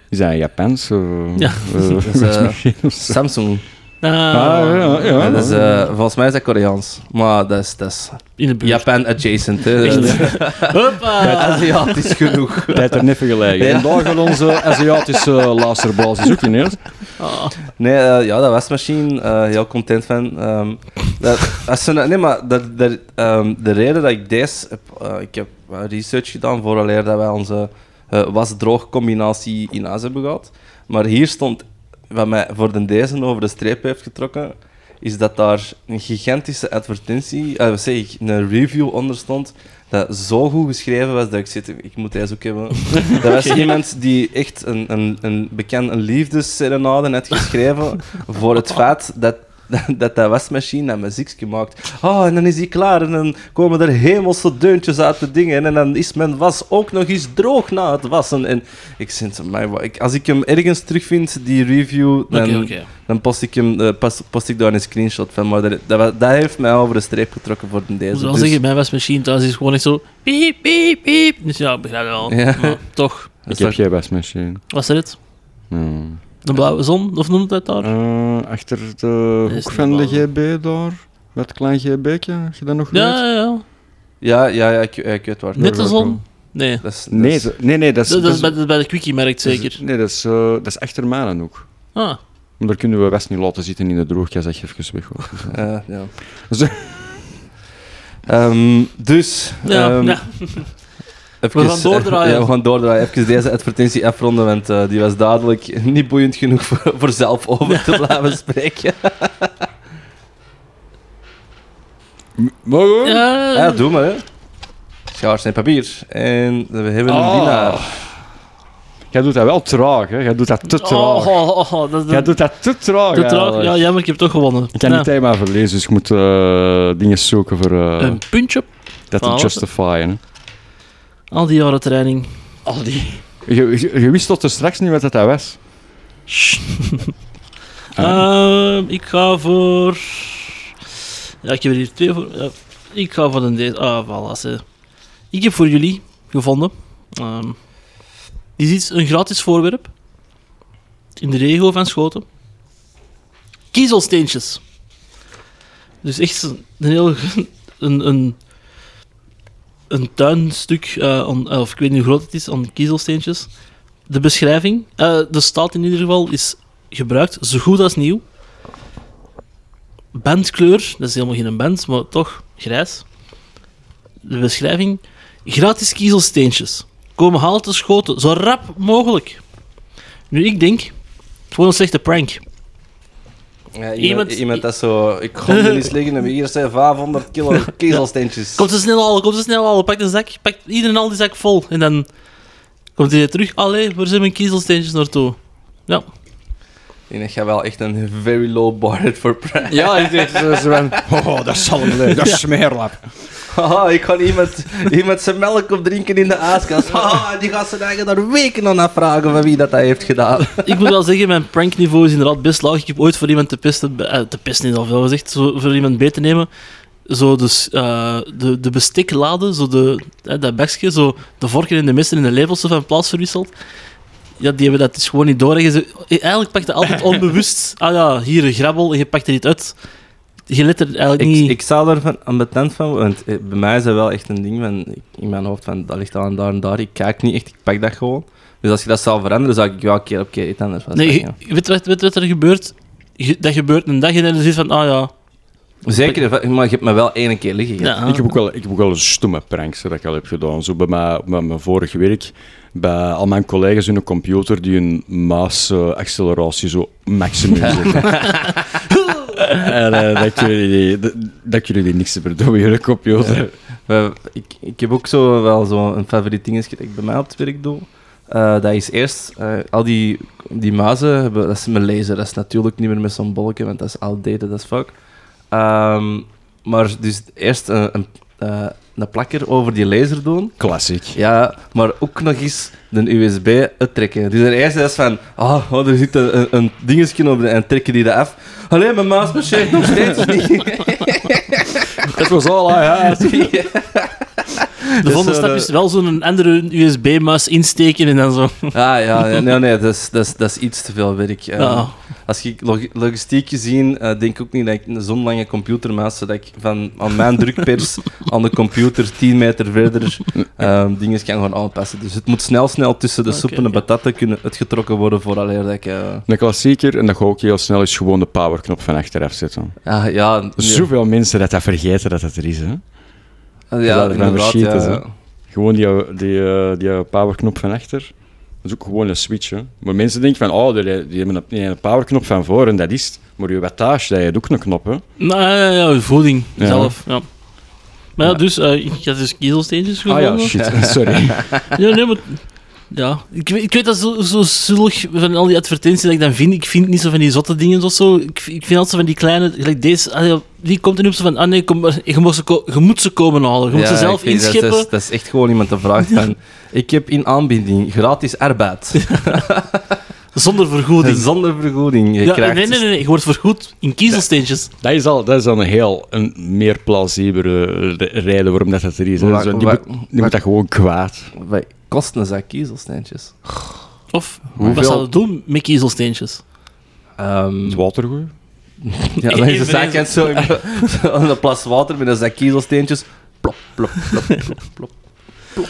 Is dat een Japans? eh, Ja. eh, [laughs] Dat [laughs] is, eh, machine of zo? Samsung. Ah, Ah, ja, ja. Ja, dat is, eh, volgens mij is dat Koreaans. Maar dat is, dat is In de buurt. Japan adjacent. Hè. Echt? [laughs] Dat is Hoppa. Aziatisch genoeg. Tijd er net gelegen. Ja. En daar gaan onze Aziatische laserbaas is ook in eerst. Ah. Nee, eh, ja, dat wasmachine. eh heel content van. Ehm, dat, als ze, nee, maar dat, dat, ehm, de reden dat ik deze heb... eh, ik heb eh, research gedaan vooraleer dat wij onze eh was-droog combinatie in huis hebben gehad. Maar hier stond, wat mij voor de deze over de streep heeft getrokken, is dat daar een gigantische advertentie, eh, wat zeg ik, een review onder stond, dat zo goed geschreven was dat ik zit, ik moet deze ook hebben. [laughs] dat was iemand die [laughs] echt een, een, een bekend een liefdesserenade had geschreven voor het feit dat dat dat wasmachine dat muziekje maakt. Oh, en dan is die klaar en dan komen er hemelse deuntjes uit de dingen en dan is mijn was ook nog eens droog na het wassen. En ik vind, amai, wat- ik- als ik hem ergens terugvind, die review, dan, Oké, oké. dan post, ik hem, eh, pas- post ik daar een screenshot van. Maar dat, dat, wa- dat heeft mij over de streep getrokken voor deze. Ik moet wel dus- zeggen, mijn wasmachine thuis is gewoon echt zo... Piep, piep, piep. Dus ja, ik begrijp het wel. Ja. Maar toch, dat Ik is heb toch- geen wasmachine. was er het? Ja. De blauwe zon, of noemt dat daar? Eh, achter de is hoek niet van de waar. GB daar, met het klein GB'tje, heb je dat nog ja, weet? ja, ja. Ja, ja, ja, ik, ik weet waar. het Net over als gaat. zon? Nee. Dat is- dat Nee, is- ze- nee, nee, dat is... Dat, dat is bij, dat de- bij de quickie merkt dat is- zeker. Nee, dat is, eh, dat is achter Malenhoek. Ah, Maar Daar kunnen we best niet laten zitten in de droogkast, dat je even weg hoor. eh, ja. Zo. [laughs] Ehm, dus, ja, ehm, ja. even- We gaan doordraaien. Ja, we gaan doordraaien. Even deze advertentie afronden, want eh, die was duidelijk [laughs] niet boeiend genoeg voor, voor zelf [laughs] over te blijven spreken. Mogen we? Ja, Ja, doe maar. Hè. Schaars en papier. En we hebben een Oh. Ah. winnaar. Jij doet dat wel traag, hè? Jij doet dat te Oh, traag. oh, oh, oh, dat, Jij dat, doet dat te traag. te traag. eigenlijk. Ja, jammer, ik heb toch gewonnen. Ik kan Ja. niet helemaal verlezen, dus ik moet eh, dingen zoeken voor eh, Een puntje. dat te voilà. justifyen. hè. Al die jaren training. Al die. Je, je, je wist tot er straks niet wat dat was. Sst. Ah. [laughs] Ehm, ik ga voor... Ja, ik heb er hier twee voor. Ja, ik ga voor een deze. Ah, voilà. ze. Ik heb voor jullie gevonden. ehm, dit is iets, een gratis voorwerp. In de regio van Schoten. Kiezelsteentjes. Dus echt een heel... [laughs] Een, een, een tuinstuk, eh, aan- of ik weet niet hoe groot het is, aan kiezelsteentjes. De beschrijving, eh, de staat in ieder geval, is gebruikt, zo goed als nieuw. Bandkleur, dat is helemaal geen band, maar toch grijs. De beschrijving: gratis kiezelsteentjes. Komen halen te schoten, zo rap mogelijk. Nu, ik denk, het is gewoon een slechte prank. Ja, iemand, Iemand- iemand, dat zo... Ik kon hier eens liggen en we hier zijn 500 [laughs] kilo kezelsteentjes. Komt ze snel halen, komt ze snel halen. Pak een zak, pak iedereen al die zak vol. En dan komt hij terug. Allee, waar zijn mijn kiezelsteentjes naartoe? Ja, En dat gaat wel echt een very low bar [laughs] it for price. Ja, ik deed Oh, dat zal hem Dat is smeerlap. Haha, ik kan iemand, iemand zijn melk opdrinken in de aaskast. Haha, die gaat zijn eigen daar weken aan afvragen van wie dat, dat heeft gedaan. ik moet wel zeggen, mijn prankniveau is inderdaad best laag. Ik heb ooit voor iemand te pesten, eh, te pesten is al veel gezegd, zo, voor iemand beet te nemen, zo dus, eh, de, de bestikladen, zo de, eh, dat bekje, zo de vorken en de messen en de lepels zo van plaats verwisseld. Ja, die hebben dat dus gewoon niet door. En je zo- eigenlijk pakte altijd onbewust, [laughs] ah ja, hier een grabbel en je pakt er niet uit. Je let er eigenlijk Ik, niet... ik zou daar van ambetant van worden, want eh, bij mij is dat wel echt een ding van, ik- in mijn hoofd van dat ligt al en daar en daar. Ik kijk niet echt, ik pak dat gewoon. Dus als je dat zou veranderen, zou ik wel keer op keer iets anders van nee, zeggen. je- weet wat- weet wat er gebeurt? Je- dat gebeurt een dag en dan is het van, ah ja... Zeker, maar je hebt me wel één keer liggen. gehad. ja. Ik heb ook wel, ik heb ook wel een stomme pranks hè, dat ik al heb gedaan. Zo bij, mij, bij mijn vorig werk, bij al mijn collega's hun computer die hun muisacceleratie zo maximum zetten. en eh, dat, jullie, die- dat, dat jullie die niks hebben doen met jullie computer. We- ik, ik heb ook zo wel zo'n favoriet dingetje dat ik bij mij op het werk doe. Eh, dat is eerst, eh, al die, die muizen, hebben, dat is mijn laser, dat is natuurlijk niet meer met zo'n bolletje, want dat is outdated as fuck. Ehm, maar dus eerst een, een, eh, een plakker over die laser doen. Klassiek. Ja, maar ook nog eens de USB uittrekken. Dus de eerste is van, ah, oh, er zit een, een- een dingetje op de- en trekken die dat af. Alleen mijn muis marcheert nog steeds niet. Het was al ja. De volgende eh, stap is wel zo'n andere USB-muis insteken en dan zo. Ah ja, nee, nee, nee, dat, is, dat, is, dat is iets te veel werk. Eh, Ja. Als je log- logistiek gezien, eh, denk ik ook niet dat ik zo'n lange computermuis, dat ik van aan mijn drukpers aan de computer 10 meter verder ehm dingen kan gaan aanpassen. Dus het moet snel, snel tussen de Oké, soep en de oké. batatten kunnen uitgetrokken worden vooraleer dat ik... eh, Een klassieker, en dat ga ik heel snel, is gewoon de powerknop van achteraf zetten. ah, ja, nee. Zoveel mensen dat dat vergeten dat dat er is, hè. Ah, dat ja, het dan inderdaad, shit ja, is, hè. ja. Gewoon die, die, eh, die powerknop van achter. Dat is ook gewoon een switch, hè. Maar mensen denken van, oh, die, die hebben een, die hebben een powerknop van voor en dat is het. Maar je wattage, dat heeft ook een knop, hè. Nou ja, ja, ja, voeding Ja. zelf. Ja. Maar ja, dus, eh, ik had dus kiezelsteentjes Ah gevonden. ja, shit, sorry. Ja, nee, maar Ja, ik, weet- ik weet dat zo, zo zullig van al die advertenties dat ik dan vind. Ik vind niet zo van die zotte dingen of zo. Ik, ik vind altijd zo van die kleine, gelijk deze. ah ja, die komt er nu op zo van, ah nee, kom, maar, je, moet ze, ko- je moet ze komen halen. Je moet ze Ja, zelf ik weet, dat is- inschippen. Dat is, dat is echt gewoon iemand te vragen [laughs] van... Ik heb in aanbieding gratis arbeid. Zonder vergoeding. Zonder vergoeding. [laughs] Je Ja, krijgt dus- nee, nee, nee, nee, je wordt vergoed in kiezelsteentjes. Dat is al, dat is al een heel een meer plausibele re- reden waarom dat, dat er is. hè. Waar- Zo, die waar- moet, die moet dat gewoon kwaad. Wij kosten een zak kiezelsteentjes. Of, Hoeveel- wat zouden we doen met kiezelsteentjes? Ehm, Het water goed. [laughs] ja, dan is de Even zak deze- en zo [laughs] in [laughs] in een plas water met een zak kiezelsteentjes. Plop, plop, plop, plop, plop.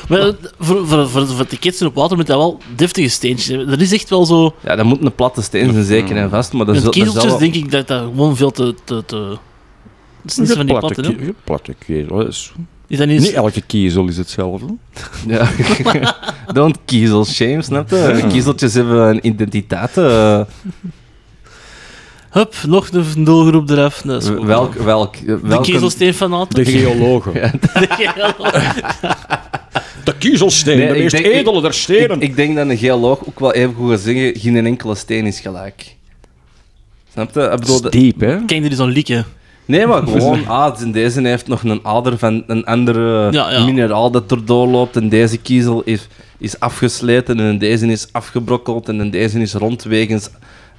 Maar eh, voor, voor, voor, voor de kids in op water moet dat wel deftige steentjes hebben. Dat is echt wel zo... Ja, dat moet een platte steen zijn, zeker en vast. Maar dat Met zul- dat kiezeltjes zal... denk ik dat dat gewoon veel te... te, te dat is niet zo van die platte, hè? kie- platte kiezel. Dat is- Is dat niet... Niet elke kiezel is hetzelfde. [laughs] Ja. [laughs] Don't kiezel shame, snap je? Kiezeltjes hebben een identiteit. eh. Hup, nog een doelgroep eraf. Dat is goed. welk, welk, De welk, kiezelsteen van Aten. De geologen. [laughs] De kiezelsteen, Nee, de ik meest denk- edele der ik, stenen. ik denk dat een geoloog ook wel even goed gaat zeggen, geen enkele steen is gelijk. Snap je? Ik bedoel, dat dat- is diep, hè? Kijk, er is zo'n liedje. Nee, [laughs] maar gewoon, ah, in deze heeft nog een ader van een andere Ja, ja. mineraal dat erdoor loopt. En deze kiezel is, is afgesleten en in deze is afgebrokkeld en in deze is rond wegens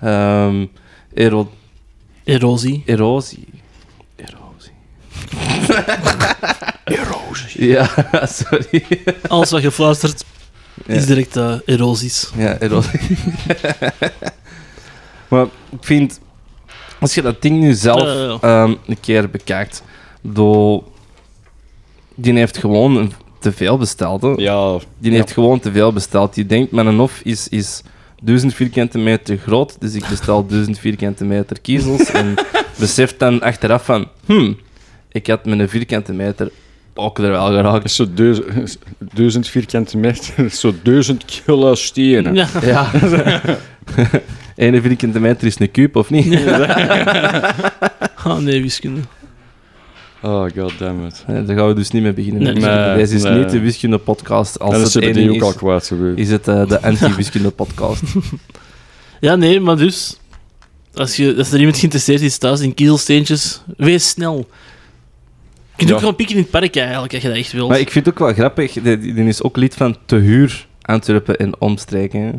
ehm, ero- Erosie. erosie. Erosie. [laughs] erosie. Ja, sorry. Alles wat je fluistert is Ja. direct eh, erosies. Ja, erosie. [laughs] maar ik vind, als je dat ding nu zelf Ja, ja, ehm, een keer bekijkt, door, die heeft gewoon een- te veel besteld. hè. Ja, Die heeft gewoon te veel besteld. Die denkt, mijn hof is, is 1000 vierkante meter groot, dus ik [laughs] bestel 1000 vierkante meter kiezels. en beseft dan achteraf van, hmm, ik had mijn vierkante meter ook er wel geraakt. zo duizend, duizend vierkante meter, zo duizend kilo stenen. Ja. [laughs] Ja. [laughs] Ene vierkante meter is een kuub, of niet? Ah, nee, wiskunde. Oh, goddammit. Nee, daar gaan we dus niet mee beginnen. Nee. Nee, Deze is dus nee. niet de wiskunde-podcast. Als En dat het ze één die ding ook al is, kwaad geweest. is het eh, de anti-wiskunde-podcast. Ja, nee, maar dus... Als, je, als er iemand geïnteresseerd is thuis in kiezelsteentjes, wees snel. Je kunt Ja. ook gewoon pikken in het park eigenlijk, als je dat echt wilt. maar ik vind het ook wel grappig, die, die die is ook lid van Te Huur Antwerpen en Omstreken. hè.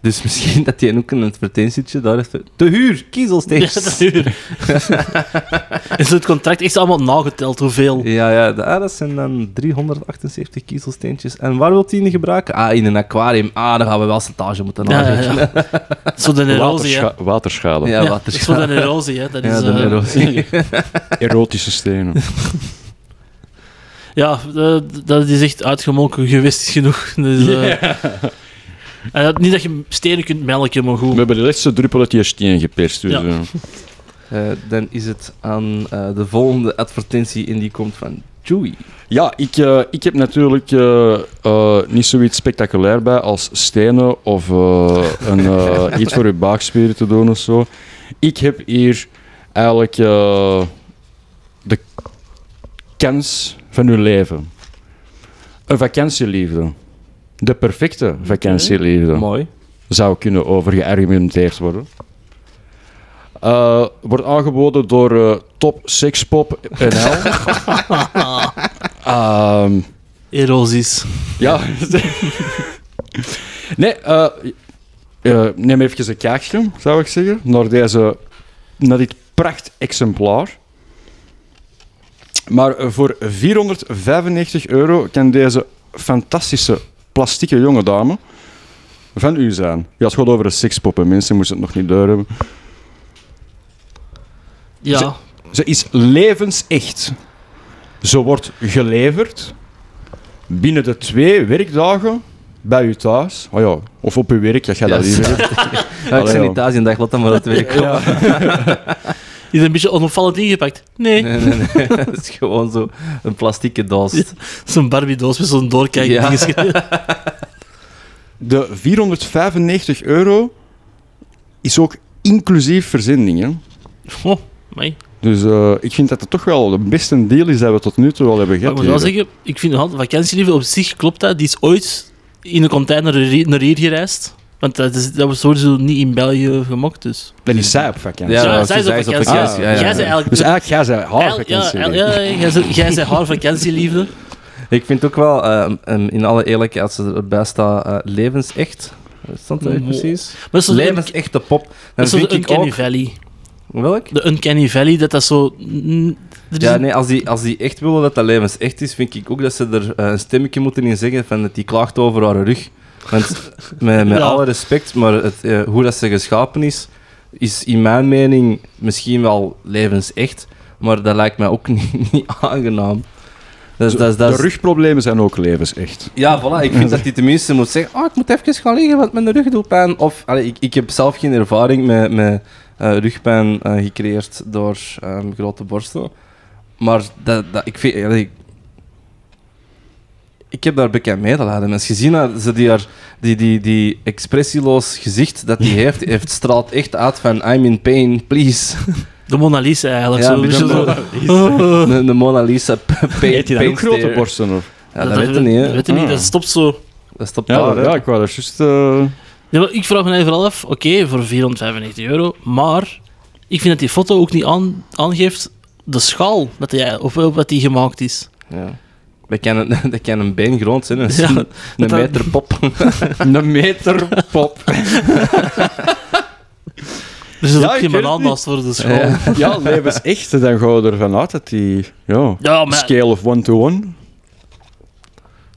Dus [laughs] misschien dat hij ook een advertentietje daar heeft. Te huur, Ja, dat is kiezelsteentjes. duur. en zo het contract echt allemaal nageteld, hoeveel. Ja, ja, de- ah, dat zijn dan 378 kiezelsteentjes. En waar wilt hij die gebruiken? Ah, in een aquarium. Ah, dan gaan we wel stage moeten Ja, ja, aanleggen. ja. Zo de erosie, hè. Waterscha- waterschade. Ja, Ja, wat dat is voor de erosie, hè. Dat is, Ja, de eh, erosie. [laughs] Erotische [laughs] stenen. Ja, eh, dat is echt uitgemolken geweest genoeg. [laughs] Dus, eh, en dat- niet dat je stenen kunt melken, maar We goed. hebben de laatste druppel uit die steen geperst. Dus, Ja. eh, Eh, dan is het aan eh, de volgende advertentie en die komt van Chewy. Ja, ik, eh, ik heb natuurlijk eh, eh, niet zoiets spectaculair bij als stenen of eh, een, eh, iets voor je buikspieren te doen of zo. Ik heb hier eigenlijk eh, de kans van uw leven. Een vakantieliefde. De perfecte vakantieliefde Mooi. zou kunnen over geargumenteerd worden. Eh, wordt aangeboden door eh, Top Sexpop NL. Ehm, Erosies. ja. nee, eh, eh, neem even een kaartje, zou ik zeggen, naar, deze, naar dit prachtexemplaar. Maar eh, voor 495 euro kan deze fantastische plastieke jonge dame van u zijn. Ja, het gaat over een sixpop, hè. mensen moesten het nog niet door hebben. Ja, Ze is levensecht. Ze wordt geleverd binnen de twee werkdagen bij u thuis. Oh ja, of op uw werk, dat jij dat Ja, liever [laughs] hebt. Ja, ik Allee, zei niet thuis in dag, laat dat maar uit het [laughs] werk komen. is een beetje onopvallend ingepakt. Nee, Nee, nee, nee. [laughs] Het is gewoon zo een plastieke doos. zo'n Barbie-doos met zo'n doorkijk. Ja. dingetje. De 495 euro is ook inclusief verzending. Hè? Oh, amai. Dus eh, ik vind dat het toch wel de beste deal is dat we tot nu toe al hebben Maar ik gehad. moet wel hier. zeggen, ik vind vakantieliefde op zich klopt dat. Die is ooit in een container naar hier- naar hier gereisd. Want dat, is, dat was sowieso niet in België gemaakt, dus. Dat is zij op vakantie. Ja, Zij- ze zij is zij op is op vakantie. vakantie, ja, ja, Jij ja. bent eigenlijk... Dus eigenlijk, jij zei haar El- ja, vakantie. El- ja, jij zei- jij zei haar vakantieliefde. Ik vind ook wel, ehm, ehm, in alle eerlijkheid, als ze erbij staat, eh, levensecht. Wat stond er Wow. precies? Maar zo'n un- Levensechte pop. Dan dat is vind de ik Uncanny ook... Valley. Welk? De Uncanny Valley, dat dat zo... mm, er is Ja, een- nee, als die, als die echt willen dat dat levensecht is, vind ik ook dat ze er eh, een stemmetje moeten in zeggen van dat die klaagt over haar rug. Want met, met Ja. alle respect, maar het, eh, hoe dat ze geschapen is, is in mijn mening misschien wel levensecht, maar dat lijkt mij ook [laughs] niet, niet aangenaam. Dat is, dat is, dat De is- rugproblemen zijn ook levensecht. Ja, voilà. Ik vind dat hij tenminste moet zeggen: oh, ik moet even gaan liggen, want mijn rug doet pijn. Of allee, ik, ik heb zelf geen ervaring met, met eh, rugpijn eh, gecreëerd door ehm, grote borsten. Maar dat, dat, ik vind. allee, ik, ik heb daar bekend mee te laten. Mensen gezien dat ze die, haar- die, die, die expressieloos gezicht dat hij heeft, heeft, straalt echt uit van I'm in pain, [laughs] please. De Mona Lisa eigenlijk. Ja, zo, de weet je, zo. Mona De, de Mona Lisa p- pain. Eet hij dan pain Ook grote stare. borsten, hoor. Ja, dat, weet je niet, Dat hè? weet je niet, Ah. dat stopt zo. Dat stopt Ja, daar, ja, hè. ik wou dat juist... eh, Ja, maar ik vraag me even af, oké, voor 495 euro, maar ik vind dat die foto ook niet aan, aangeeft de schaal dat die, of, of dat die gemaakt is. Ja. Dat kan, [laughs] een, dat kan een been groot zijn, een, Ja, een dat- meter pop. [laughs] Een meter pop. Er zit Ja, Dus ook ik geen weet het banaan niet. naast voor de schaal. Ja, Ja. [laughs] Ja, levensecht. Dan gaan we ervan uit dat die... Ja, maar... scale of one-to-one.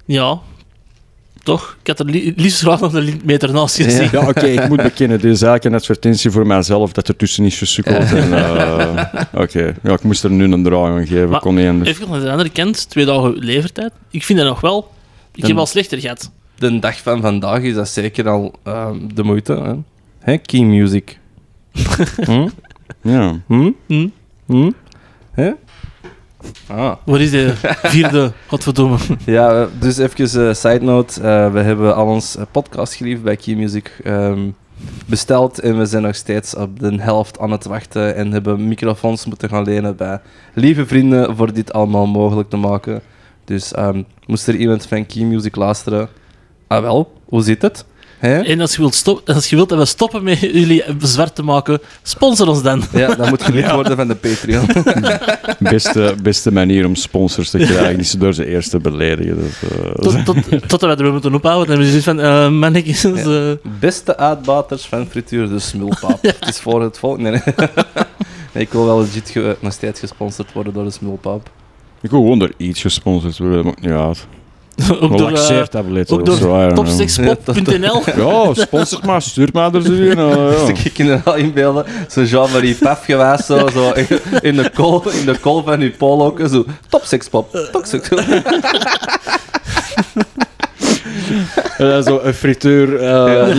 Ja. Toch? Ik had er li- liefst graag nog een meter naast gezien. Ja, oké, ik moet bekennen. Dit is eigenlijk een advertentie voor mijzelf dat er tussen is gesukkeld. [laughs] en, eh, oké, ja, ik moest er nu een draai aan geven. Maar kon niet anders. Even aan de andere kant, twee dagen levertijd. Ik vind dat nog wel... Ik heb Dan- al slechter gehad. De dag van vandaag is dat zeker al ehm, de moeite. Hè? Hè, key music. hm? Ja. Hm? Hm? Hm? Hè? Ah. Wat is de vierde? Godverdomme. Ja, eh, dus even eh side note. Eh, we hebben al ons eh, podcastgeliefd bij Key Music ehm, besteld. En we zijn nog steeds op de helft aan het wachten. En hebben microfoons moeten gaan lenen bij lieve vrienden voor dit allemaal mogelijk te maken. Dus ehm, moest er iemand van Key Music luisteren? Ah wel, hoe zit het? Hè? En als je, wilt stop- als je wilt dat we stoppen met jullie zwart te maken, sponsor ons dan. Ja, dat moet gelicht worden van de Patreon. Beste, beste manier om sponsors te krijgen is door ze eerst te beledigen. Dus, eh, Tot, tot, totdat we er moeten ophouden. Dan hebben we zoiets van, eh man, ik is... eh, Beste uitbaters van frituur, de smulpaap. Het is voor het volk. Nee, [laughs] nee. Nee, ik wil wel legit ge- nog steeds gesponsord worden door de smulpaap. ik wil gewoon door iets gesponsord worden, maar niet uit. ook Een door, eh, laxeertablet ook of door zo, I don't know. topsexpot.nl. Ja, sponsor maar, stuur maar er zo in. Oh. eh, ja. Dus ik kan er wel inbeelden, zo Jean-Marie Paf geweest, zo, zo in, in de kool, in de kool van uw polo, zo topsexpop, Oh, topsexpop. En dan zo een frituur. eh,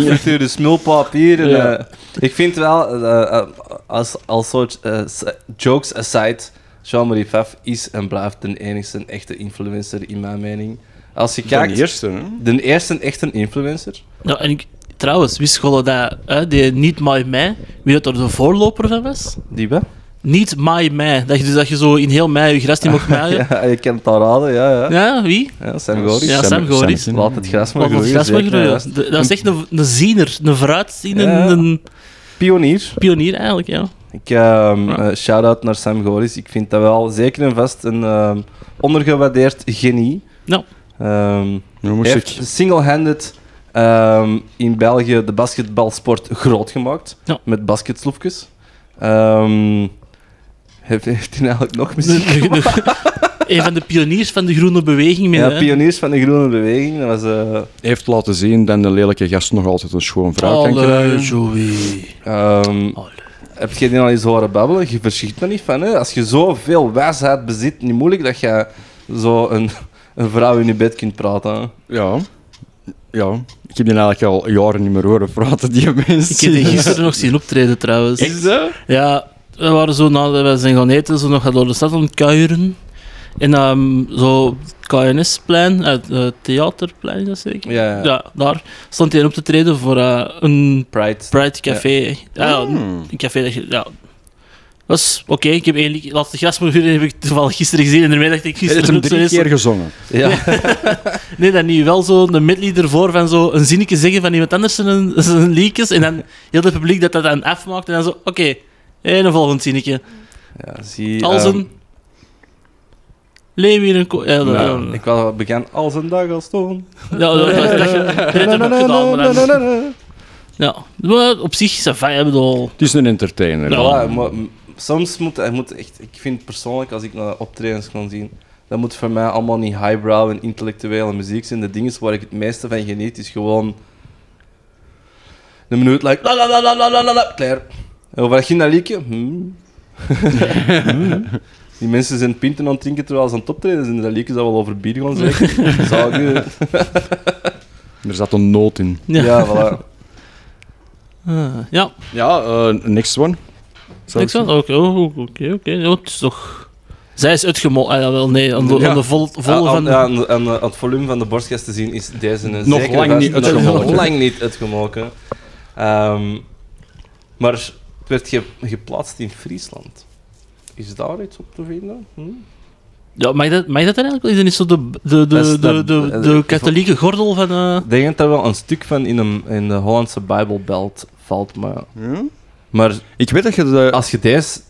Ja, frituur de smulpaap hier. En, Ja. eh, ik vind wel, eh, eh, als, als soort eh, s- jokes aside, Jean-Marie Paf is en blijft de enigste echte influencer in mijn mening. Als je de kijkt, eerste, hè. de eerste echte influencer. Ja, en ik, trouwens, wist je dat hè, die Niet My Mij, wie dat er de voorloper van was? Die we? Niet My Mij. Dat je, dus dat je zo in heel mei je gras niet mocht maaien. Ah, [laughs] ja. Ja, je kent het al raden, ja, ja. wie? ja Sam Goris. Ja, Sam Goris. Sam- Laat het gras maar Wat was groeien. gras maar zeker, groeien. ja. De- Dat is echt een, een ziener, een vooruitziener, Ja. een Pionier. pionier eigenlijk, ja. Ik, ehm eh, shout-out naar Sam Goris. Ik vind dat wel zeker en vast een ehm, ondergewaardeerd genie. Ja. Ehm, Nu moest ik. heeft single-handed ehm, in België de basketbalsport groot gemaakt. Ja. Met basketsloefjes. Ehm, heeft, heeft hij eigenlijk nog muziek [laughs] De- de- de- een van de pioniers van de groene beweging. Met, Ja, hè. pioniers van de groene beweging. Dat was... eh, heeft laten zien dat de lelijke gast nog altijd een schoon vrouw kan Allee, krijgen. Joey. ehm, Allee. Heb je die al eens horen babbelen? Je verschiet er niet van. Hè? Als je zoveel wijsheid bezit, niet moeilijk dat je zo een, een vrouw in je bed kunt praten. hè. Ja. Ja. Ik heb die eigenlijk al jaren niet meer horen praten, die mensen. Ik heb [laughs] die gisteren nog zien optreden trouwens. Is dat? Ja, we waren zo nadat we zijn gaan eten, zo nog door de stad aan het kuieren. En ehm, zo KNS-plein, eh, het theaterplein is dat zeker? Ja, ja. daar stond hij op te treden voor eh, een Pride. Pride Café. Ja, Hmm. een café dat je... Ja, was oké. ik heb één liedje- laatste grasmorguur heb ik toevallig gisteren gezien. En daarmee dacht ik Hij heeft gisteren hem ook zo drie eens. keer gezongen. Ja. Nee, dat niet. Wel zo een medley ervoor van zo een zinnetje zeggen van iemand anders zijn, zijn liedjes. En dan heel het publiek dat dat dan afmaakt. En dan zo, oké, en een volgend zinnetje. ja, [laughs] zie. [laughs] Als ehm, een... Leeuw in een... ko- Ja, dat- nou, ja, ik was bekend als een dag al stond. dat dat- dat- dat- dat heb ik ook gedaan. Oh, maar dan- Ja, maar op zich is dat fijn. Ik bedoel... Het is een entertainer. Ja. Voilà, maar m- soms moet hij moet echt. Ik vind persoonlijk, als ik naar optredens kan zien, dat moet voor mij allemaal niet highbrow en intellectuele muziek zijn. De dingen waar ik het meeste van geniet is gewoon. Een minuut, like. La la la la la la la la. Klaar. En Over dat gindaliekje. [laughs] Hmm. Hmm. Die mensen zijn pinten aan het drinken terwijl ze aan het optreden zijn. Dat liedje zou wel over bier gaan [laughs] zeggen. Zou je... Er zat een noot in. Ja. Ja, voilà. [laughs] Ah, ja, Ja, eh, next one. Zou niks ik van. Oké, oké, oké, oké. Ja, Het is toch... Zij is uitgemo... Ah, jawel, nee, aan de, Ja. aan de vol, volle Aan, van... aan, aan, aan, aan eh, het volume van de borstkas te zien is deze een Nog zeker lang vast- niet uitgemolken. Nog [laughs] lang niet uitgemolken. Ehm, maar het werd ge- geplaatst in Friesland. Is daar iets op te vinden? Hm? Ja, mag dat, mag dat dan eigenlijk wel? Is dat niet zo de, de, Dat de, is de, de- de, eh, de de- katholieke gordel van... eh, Ik denk dat er wel een stuk van in, een, in de Hollandse Bijbelbelt valt. Maar, Ja? maar Ik weet dat je de... als je deze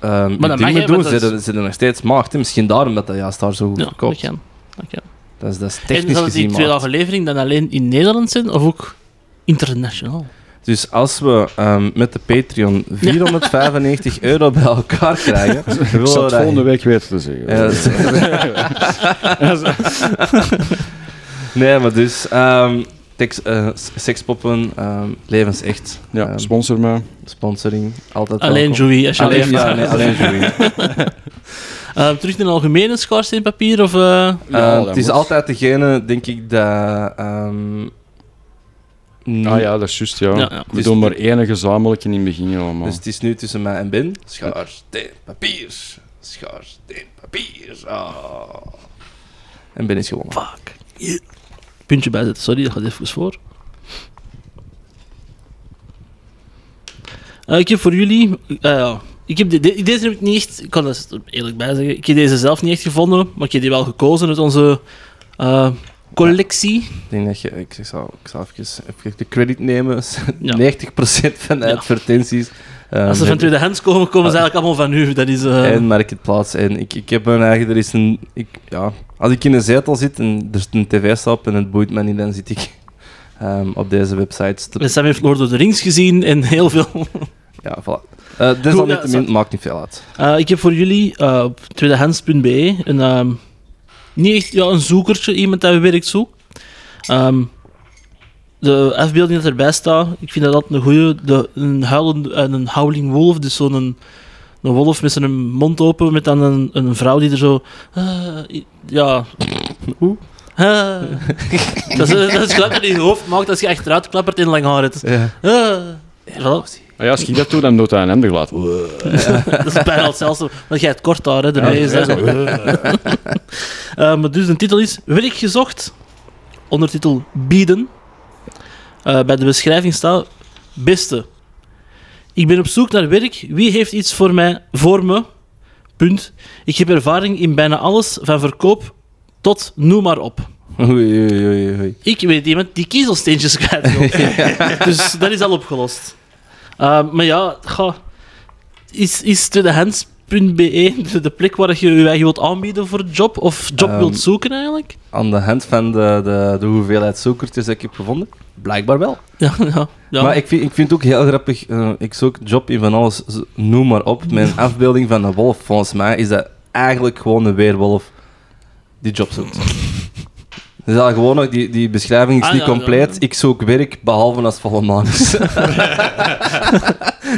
ehm dan mag je- dingen doet, want dat zitten ze er nog steeds maagd. hè. Misschien daarom dat dat juist daar zo goed Ja, dat verkoopt. kan. Dat kan. Dat is, dat is En technisch zal die gezien twee maagd. afleveringen dan alleen in Nederland zijn, of ook internationaal? Dus als we ehm, met de Patreon 495 euro bij elkaar krijgen, Ik willen zal we het dat- volgende week weten te zeggen. Ja, [laughs] dat is- nee, maar dus ehm, tekst, eh, s- sekspoppen, ehm, levensecht, [laughs] Ja, ehm, sponsor me. sponsoring, altijd Alleen welkom. Joey, als je Alleen, alleen, ja, [laughs] nee, alleen Joey. Eh, terug naar de algemene schoorsteenpapier, of... eh, Ja, Ehm, dat het is moet. altijd degene, denk ik, dat... ehm, n- Ah ja, dat is juist, ja. Ja, ja. We doen maar één gezamenlijke in het begin allemaal. Dus het is nu tussen mij en Ben. Schaarsteen, papier. Schaarsteen, papier. Ah. En Ben is gewonnen. Fuck. Yeah. Puntje bijzetten, sorry, dat gaat even voor. Eh, ik heb voor jullie. eh, ja, ik heb de- de- deze heb ik niet echt. Ik kan er eerlijk bij zeggen. Ik heb deze zelf niet echt gevonden, maar ik heb die wel gekozen uit onze eh, collectie. Ik denk dat je, ik zal, ik zal even, even de credit nemen. [laughs] 90% van de Ja. advertenties. ehm, Als ze van hebben- tweedehands komen, komen ze eigenlijk allemaal van u. Dat is. eh, en marketplaats. En ik, ik heb mijn eigen, er is een, ik, ja, als ik in een zetel zit en er is een tv stap en het boeit me niet, dan zit ik ehm, op deze websites. te- en Sam heeft Lord of the Rings gezien en heel veel. Ja, voilà. Eh desalniettemin, ja, maakt niet veel uit. Eh, ik heb voor jullie eh, op tweedehands.be een, ehm, niet echt, ja, een zoekertje, iemand dat werkt zoekt. Ehm, de afbeelding dat erbij staat, ik vind dat altijd een goeie. De, een, huilend, eh, een howling wolf, dus zo'n een, een wolf met zijn mond open, met dan een, een vrouw die er zo... eh, i- ja... [laughs] Hoe? Eh. dat is eh, dat is het geluid dat je in je hoofd maakt als je achteruit klappert en lang haar hebt. Ja. Eh. Voilà. Ah ja, als ik dat doe, dan doet hij een hem de glad. [laughs] dat is bijna hetzelfde. Want jij hebt kort daar, hè? De Ja, neus, ja, hè. zo. [laughs] Eh, maar dus de titel is Werk gezocht. Ondertitel Bieden. Eh, bij de beschrijving staat Beste. Ik ben op zoek naar werk. Wie heeft iets voor mij voor me? Punt. Ik heb ervaring in bijna alles, van verkoop tot noem maar op. Oei, oei, oei, oei. Ik weet iemand die kiezelsteentjes [laughs] kwijt [laughs] wil. Dus dat is al opgelost. Ehm, maar ja, ga, is, is tweedehands.be de- de plek waar je je eigen wilt aanbieden voor een job? Of job Ehm, wilt zoeken eigenlijk? [laughs] Aan de hand van de, de, de hoeveelheid zoekertjes die ik heb gevonden, blijkbaar wel. Ja, ja. ja. Maar ik vind, ik vind het ook heel grappig. eh, ik zoek job in van alles, z- noem maar op. [laughs] Mijn afbeelding van een wolf, volgens mij, is dat eigenlijk gewoon een weerwolf die job zoekt. Dus al gewoon nog, die, die beschrijving is Ah, niet ja, compleet. ja. Ik zoek werk, behalve als het volle [laughs] maan [laughs] is.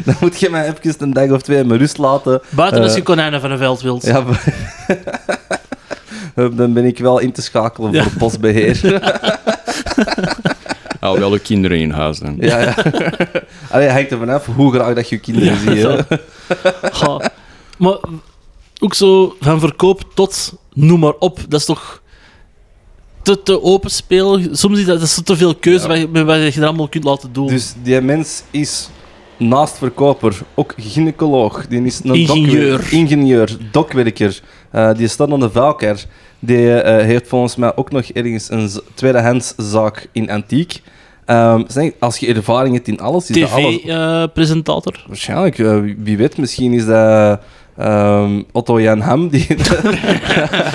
Dan moet je mij even een dag of twee in mijn rust laten. Buiten als je eh, konijnen van een veld wilt. Ja, [laughs] b- dan ben ik wel in te schakelen voor [laughs] postbeheer. Hou wel de kinderen in huis dan. ja, ja. Allee, hangt er vanaf hoe graag dat je je kinderen ziet. hè. zo. Ga. Maar ook zo van verkoop tot noem maar op. Dat is toch te, te open spelen. Soms is dat, dat is te veel keuze Ja. wat je- met wat je er allemaal kunt laten doen. Dus die Dus mens is naast verkoper ook gynaecoloog. Die is een Ingenieur. dokwer- ingenieur, dokwerker. Eh, die staat aan de vuilker. Die eh, heeft volgens mij ook nog ergens een z- tweedehandszaak in antiek. Ehm, zeg, als je ervaring hebt in alles, is dat alles eh, TV-presentator. Waarschijnlijk, eh, wie- wie weet, misschien is dat ehm, Otto Jan Ham die,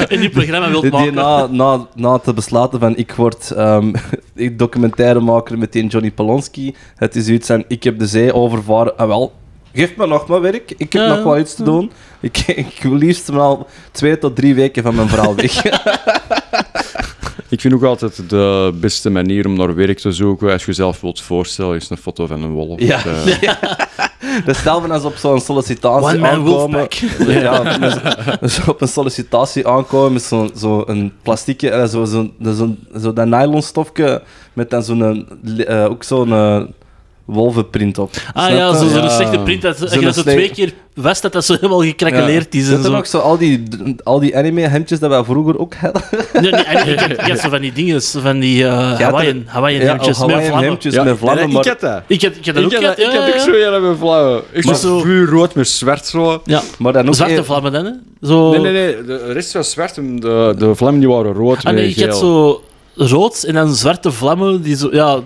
in die programma wilt die maken. na, na, na te besluiten van ik word ehm [laughs] documentairemaker met die Johnny Polonski. Het is zoiets van ik heb de zee overvaren. Ah, wel, geef me nog maar werk, ik heb Ja, nog wel iets te doen. Ik, [laughs] ik wil liefst maar al twee tot drie weken van mijn verhaal weg. Ik vind ook altijd de beste manier om naar werk te zoeken, als je jezelf wilt voorstellen, is een foto van een wolf. Ja. Eh, Dat Dus stel van als op zo'n sollicitatie One man aankomen. wolfpack. Ja, dus- dus op een sollicitatie aankomen met zo'n zo een plastieke, eh, zo, zo, zo, zo dat nylonstofje met dan zo'n, eh, ook zo'n eh, wolvenprint op. Ah Snap ja, je? zo'n Ja. slechte print. Dat, dat je Zo'n dat zo slecht- twee keer vast dat dat zo helemaal gekrakeleerd is. En Zitten zo. nog zo al die, al die anime-hemdjes dat wij vroeger ook hadden? Nee, nee, en ik, had, ik had zo van die dingen, zo van die eh Hawaiian, Hawaiian hemdjes met Hawaiian vlammen. hemdjes met vlammen. ik Maar had dat. Ik had, ik had dat Ik ook had, gehad, ik ja, had ook ja. zo een met vlammen. Ik Maar was zo- vuurrood met zwart zo. Ja, maar dan ook zwarte een- vlammen dan, hè. Zo... Nee, nee, nee. De rest was zwart. en De, de vlammen die waren rood Ah, nee, met ik had geel. zo rood en dan zwarte vlammen die zo... Ja,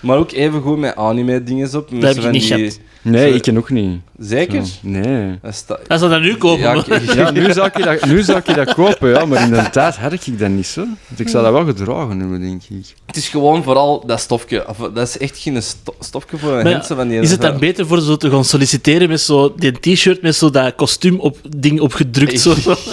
maar ook even goed met anime-dinges op. met heb zo ik van niet die- gehad. Nee, zo- ik ken ook niet. Zeker? Ja, Nee. Dat sta- hij zou dat nu kopen. Ja, maar- ik- Ja, nu zou, ik dat, nu zou ik dat kopen, ja, maar in de tijd had ik dat niet zo. Want ik zou dat wel gedragen hebben, denk ik. Het is gewoon vooral dat stofje. Of, dat is echt geen sto- stofje voor een Maar ja, mensen van die is het dan beter voor zo te gaan solliciteren met zo die t-shirt met zo dat kostuum op ding opgedrukt? Zo. [laughs]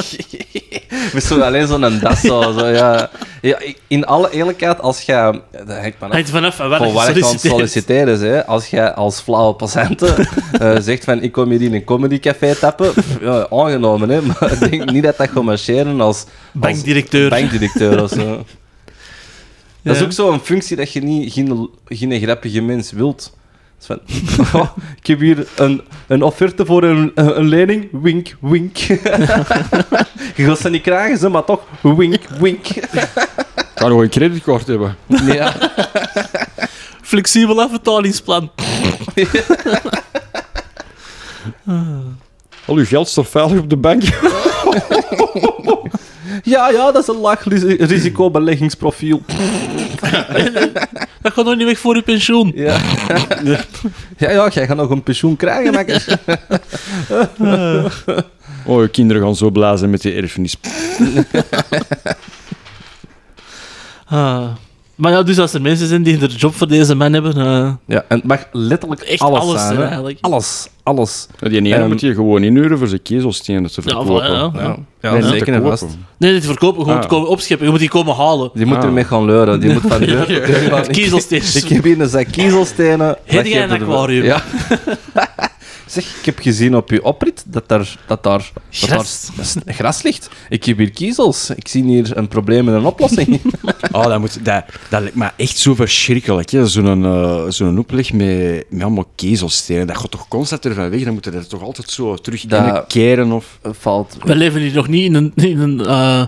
Met zo alleen zo'n das. Zo, zo, ja. Ja, ik- in alle eerlijkheid, als jij... Dat hangt maar af Hangt vanaf van waar van je waar je aan het solliciteert. solliciteren is. Hè. Als jij als flauwe patiënten [laughs] zegt van ik kom hier in een comedycafé tappen, pff, ja, aangenomen. Hè. Maar ik denk niet dat dat gaat marcheren als, als Bankdirecteur. bankdirecteur of zo. [laughs] Dat is Ja. ook zo'n functie dat je niet, geen, geen grappige mens wilt. Dat is van, [laughs] oh, ik heb hier een, een offerte voor een, een lening. Wink, wink. [laughs] je gaat ze niet krijgen, ze, maar toch. Wink, wink. Ik kan nog een creditcard hebben. [laughs] Ja. Flexibel afbetalingsplan. Al uw geld staat veilig op de bank. ja, ja, dat is een laag ris- risicobeleggingsprofiel. Dat gaat nog niet weg voor je pensioen. Ja. [laughs] ja, ja, jij gaat nog een pensioen krijgen, makker. [laughs] Oh, je kinderen gaan zo blij zijn met die erfenis. Ah. Maar ja, dus als er mensen zijn die een job voor deze man hebben... eh, Ja, en het mag letterlijk Echt alles, alles, zijn. hè, hè. eigenlijk. Alles, alles. Ja, Die ene Ehm. moet je gewoon inhuren voor zijn kezelstenen te ja, verkopen. voilà, ja, ja. Nee, niet te zeker en kopen. vast. Nee, niet te verkopen, gewoon Ah. te komen opscheppen. Je moet die komen halen. Die moet Ah. ermee gaan leuren. Die moet [laughs] van deur tot deur gaan. Ik- [laughs] Kiezelsteentjes. Ik heb hier een zak kiezelstenen. Heb Wat jij geeft een er wel? aquarium? Ja. [laughs] zeg, ik heb gezien op je oprit dat daar, dat daar, dat daar Gras. s- gras ligt. Ik heb hier kiezels. Ik zie hier een probleem en een [laughs] oplossing. Oh, dat, moet, dat, dat lijkt me echt zo verschrikkelijk. hè. Zo'n eh, zo'n opleg met, met allemaal kezelstenen. Dat gaat toch constant ervan weg? Dan moeten we dat toch altijd zo terug Dat- in keren of... Valt. We leven hier nog niet in een... In een eh,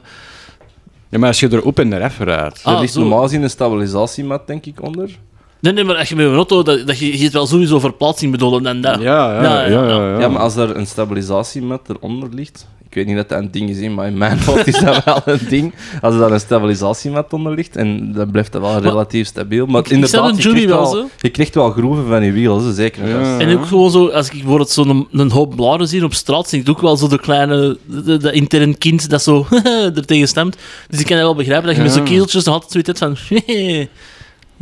Ja, maar als je er op en eraf rijdt... Er Ah, ligt zo. normaal gezien een stabilisatiemat, denk ik, onder. Nee, nee, maar als je met een auto... Dat, dat je, je zit wel sowieso verplaatsing bedoelen en dat. Ja, ja, Ja, ja. ja, ja, ja, Ja, maar als er een stabilisatiemat eronder ligt... Ik weet niet dat dat een ding is, hè, maar in mijn [laughs] hoofd is dat wel een ding. Als er dan een stabilisatiemat onder ligt, en dan blijft dat wel relatief stabiel. Maar ik inderdaad, stel een je Julie krijgt wel wel- zo. je krijgt wel groeven van je wiel, hè, zeker. en vast. En ook Mhm. gewoon zo, als ik bijvoorbeeld zo'n een hoop blaren zie op straat, zie ik ook wel zo de kleine, de- de- dat intern kind dat zo [laughs] er tegen stemt. Dus ik kan dat wel begrijpen dat je met Ja. zo'n keeltjes nog altijd zoiets hebt van. [laughs]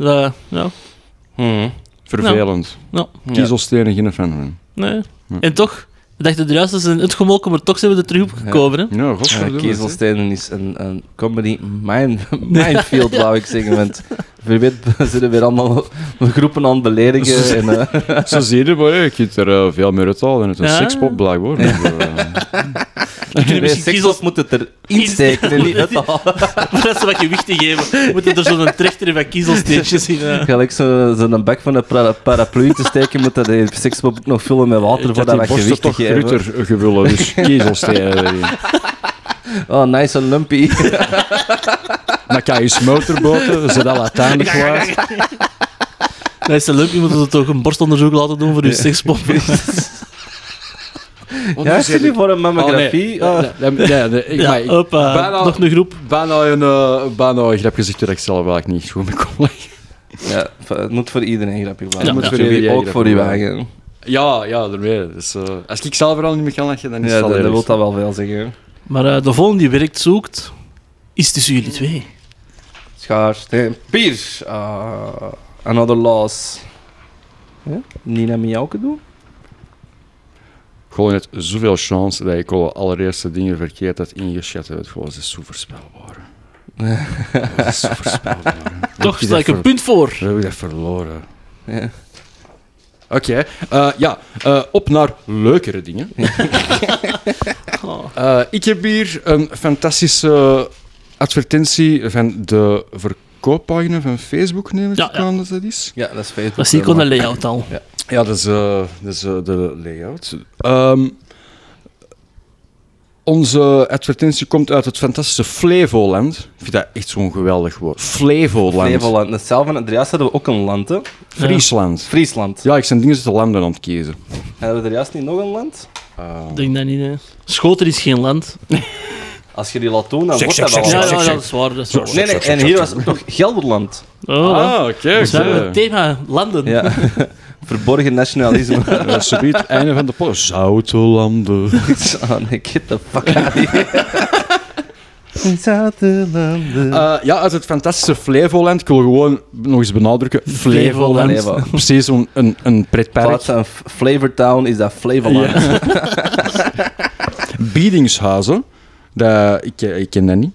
Eh, ja, Hmm. Vervelend. ja, Kiezelstenen, geen fan van. nee. En toch, we dachten er juist dat ze zijn uitgemolken, maar toch zijn we er terug [laughs] opgekomen. Hè? Mhm. Ja, Ja, godverdomme. Kiezelstenen is een, een comedy mine, [laughs] [laughs] minefield, wou ik zeggen. Want wie weet [laughs] zitten weer allemaal groepen aan het beledigen. [laughs] En, eh, hè. Zo zie je het maar, hè. je kunt er eh, veel meer uit halen. Het is een dus, Ja. sekspop, blijkbaar. kunnen nee, [laughs] misschien seksels kiezels- moet het erin [laughs] steken en niet uithalen. dat ze wat gewicht te geven, moeten er zo'n trechter van kiezelsteentjes in. [laughs] eh. Gelijk zo- zo'n bak van een pra- paraplu te steken, moet dat die sekspop ook nog vullen met water Dat voordat die dat borsten gewicht te toch geven. grutter gevullen, [laughs] dus kiezelstenen erin. Oh, nice en lumpy. Dan kan je eens motorboten, ze dat uiteindelijk was. Dat is te leuk, je moet er toch een borstonderzoek laten doen voor je Ja. [laughs] sekspop. [laughs] Ja, is het niet voor een mammografie? Oh, Ah. nee. Ja, ja, ja, nee, ik, Ja, maar ik- hoppa, bijna- nog een groep. Bijna een, eh, bijna een grap gezegd dat ik zelf eigenlijk niet goed mee kon leggen. Ja, v- het moet voor iedereen een grapje Ja, blijven. moet voor iedereen ook een voor grapje uw blijven. eigen. Ja, ja, daarmee. Dus, eh, als ik zelf er al niet meer kan lachen, dan is Ja, het al dat, dat erg. wil dat wel veel zeggen. Maar eh, de volgende die werkt zoekt, is tussen jullie twee. Schaarste. Eh, Piers. Ah, another loss. Ja? Nina Miauke doen? Gewoon net zoveel chance dat ik al allereerste dingen verkeerd had ingeschat. Dat het gewoon ze is zo [laughs] voorspelbaar. Dat is zo voorspelbaar. Toch sta ik een punt voor. Zo dat verloren. Ja. Oké, eh, ja, eh, op naar leukere dingen. Oh. Eh, ik heb hier een fantastische advertentie van de verkooppagina van Facebook, neem ik Ja, ja. aan dat dat is. Ja, dat is Facebook. Dat zie ik wel, aan de maar- layout al. Ja, dat is, eh, dat is eh, de layout. Ehm, onze advertentie komt uit het fantastische Flevoland. Ik vind dat echt zo'n geweldig woord. Flevoland. Flevoland. Hetzelfde van Adriaas hadden we ook een land, hè? Friesland. Friesland. Ja, ik zijn dingen zitten landen aan het kiezen. Hebben we er juist niet nog een land? Eh, Ik denk dat niet, hè. Schoten is geen land. Als je die laat doen, dan Zeg, wordt zeg, dat wel Ja, zeg, een ja, zeg, land. ja, dat is waar. Dat is zeg. waar. Nee, nee, en hier was het toch Gelderland. Oh, ja. ah, oké. Dus we hebben oké. het thema landen. Ja. [laughs] Verborgen [laughs] nationalisme. Eh, subiet, einde van de post. Zoutelanden. oh nee, get the fuck out of here. Zoutelanden. Eh, ja, uit het fantastische Flevoland. Ik wil gewoon nog eens benadrukken. Flevoland. Flevo. Precies zo'n een, een In pretpark. plaats van F- Flavortown is dat Flevoland. Biedingshuizen. Dat, ik, ik ken dat niet.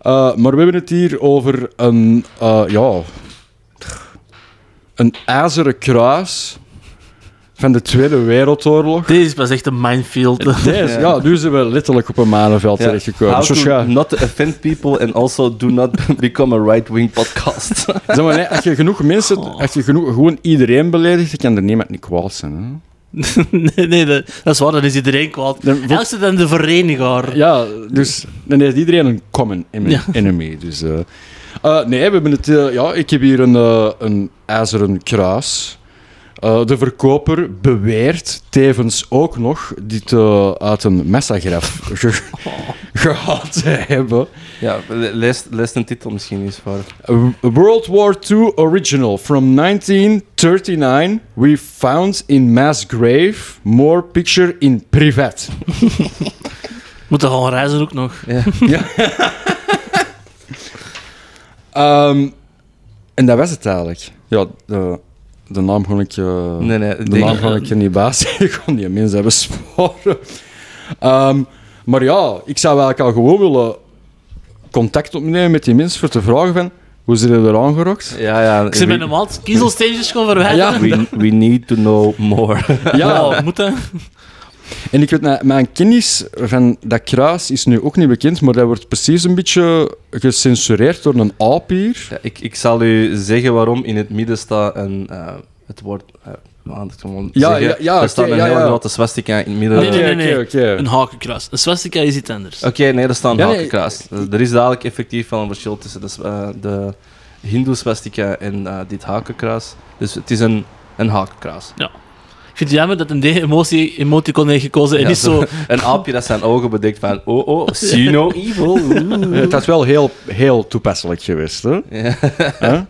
Eh, maar we hebben het hier over een... eh, ja... Een ijzeren kruis van de Tweede [laughs] Wereldoorlog. Deze was echt een minefield. Deze, ja, nu zijn we letterlijk op een manenveld terechtgekomen. How Zo to scha- not offend people and also do not [laughs] become a right-wing podcast. Zeg maar, nee, als je genoeg mensen, als je genoeg, gewoon iedereen beledigt, dan kan er niemand niet kwaad zijn. Hè? [laughs] nee, nee, dat, dat is waar. Dan is iedereen kwaad. Dan wordt- Elster dan de verenigaar. Ja, dus dan heeft iedereen een common em- Ja. enemy. Dus, eh. Eh, nee, we hebben het, eh, ja, ik heb hier een, eh, een ijzeren kruis. Eh, de verkoper beweert tevens ook nog dit eh, uit een massagraf ge- gehaald te hebben. [laughs] ja, le- lees, lees een titel misschien eens voor. A World War II original from 1939. We found in mass grave. More picture in privat. Moeten gaan reizen ook nog. Ja. [laughs] Ehm, en dat was het eigenlijk. Ja, de, de naam kon ik, eh, Nee, nee. ik de denk- naam kon ik er niet bij zeggen. [laughs] Ik kon die mensen hebben sporen. Ehm, maar ja, ik zou eigenlijk al gewoon willen contact opnemen met die mensen voor te vragen van hoe ze er [laughs] aangerokt. ja, ja. Ik zit met we, een maat kiezelsteentjes gaan verwijderen. we, we need to know more. [laughs] Ja, Oh, moeten. En ik weet, nou, mijn kennis van dat kruis is nu ook niet bekend, maar dat wordt precies een beetje gecensureerd door een apier. Ja, ik, ik zal u zeggen waarom in het midden staat een, eh, het woord. eh, want ik gewoon Ja, zeggen, ja, ja, er staat oké, een ja, hele ja. grote swastika in het midden. Nee, nee, nee. Oké, oké. Een hakenkruis. Een swastika is iets anders. Oké, nee, er staan Ja, nee. hakenkruis. Eh, Er is dadelijk effectief wel een verschil tussen de, s- eh, de Hindoe-swastika en eh, dit hakenkruis. Dus het is een, een hakenkruis. Ik vind het jammer dat een D-emotie emoticon heeft gekozen en Ja, niet zo... [laughs] Een aapje dat zijn ogen bedekt van oh oh, see no evil. oeh. [laughs] Het was wel heel, heel toepasselijk geweest, hè? Ja. [laughs] Hè?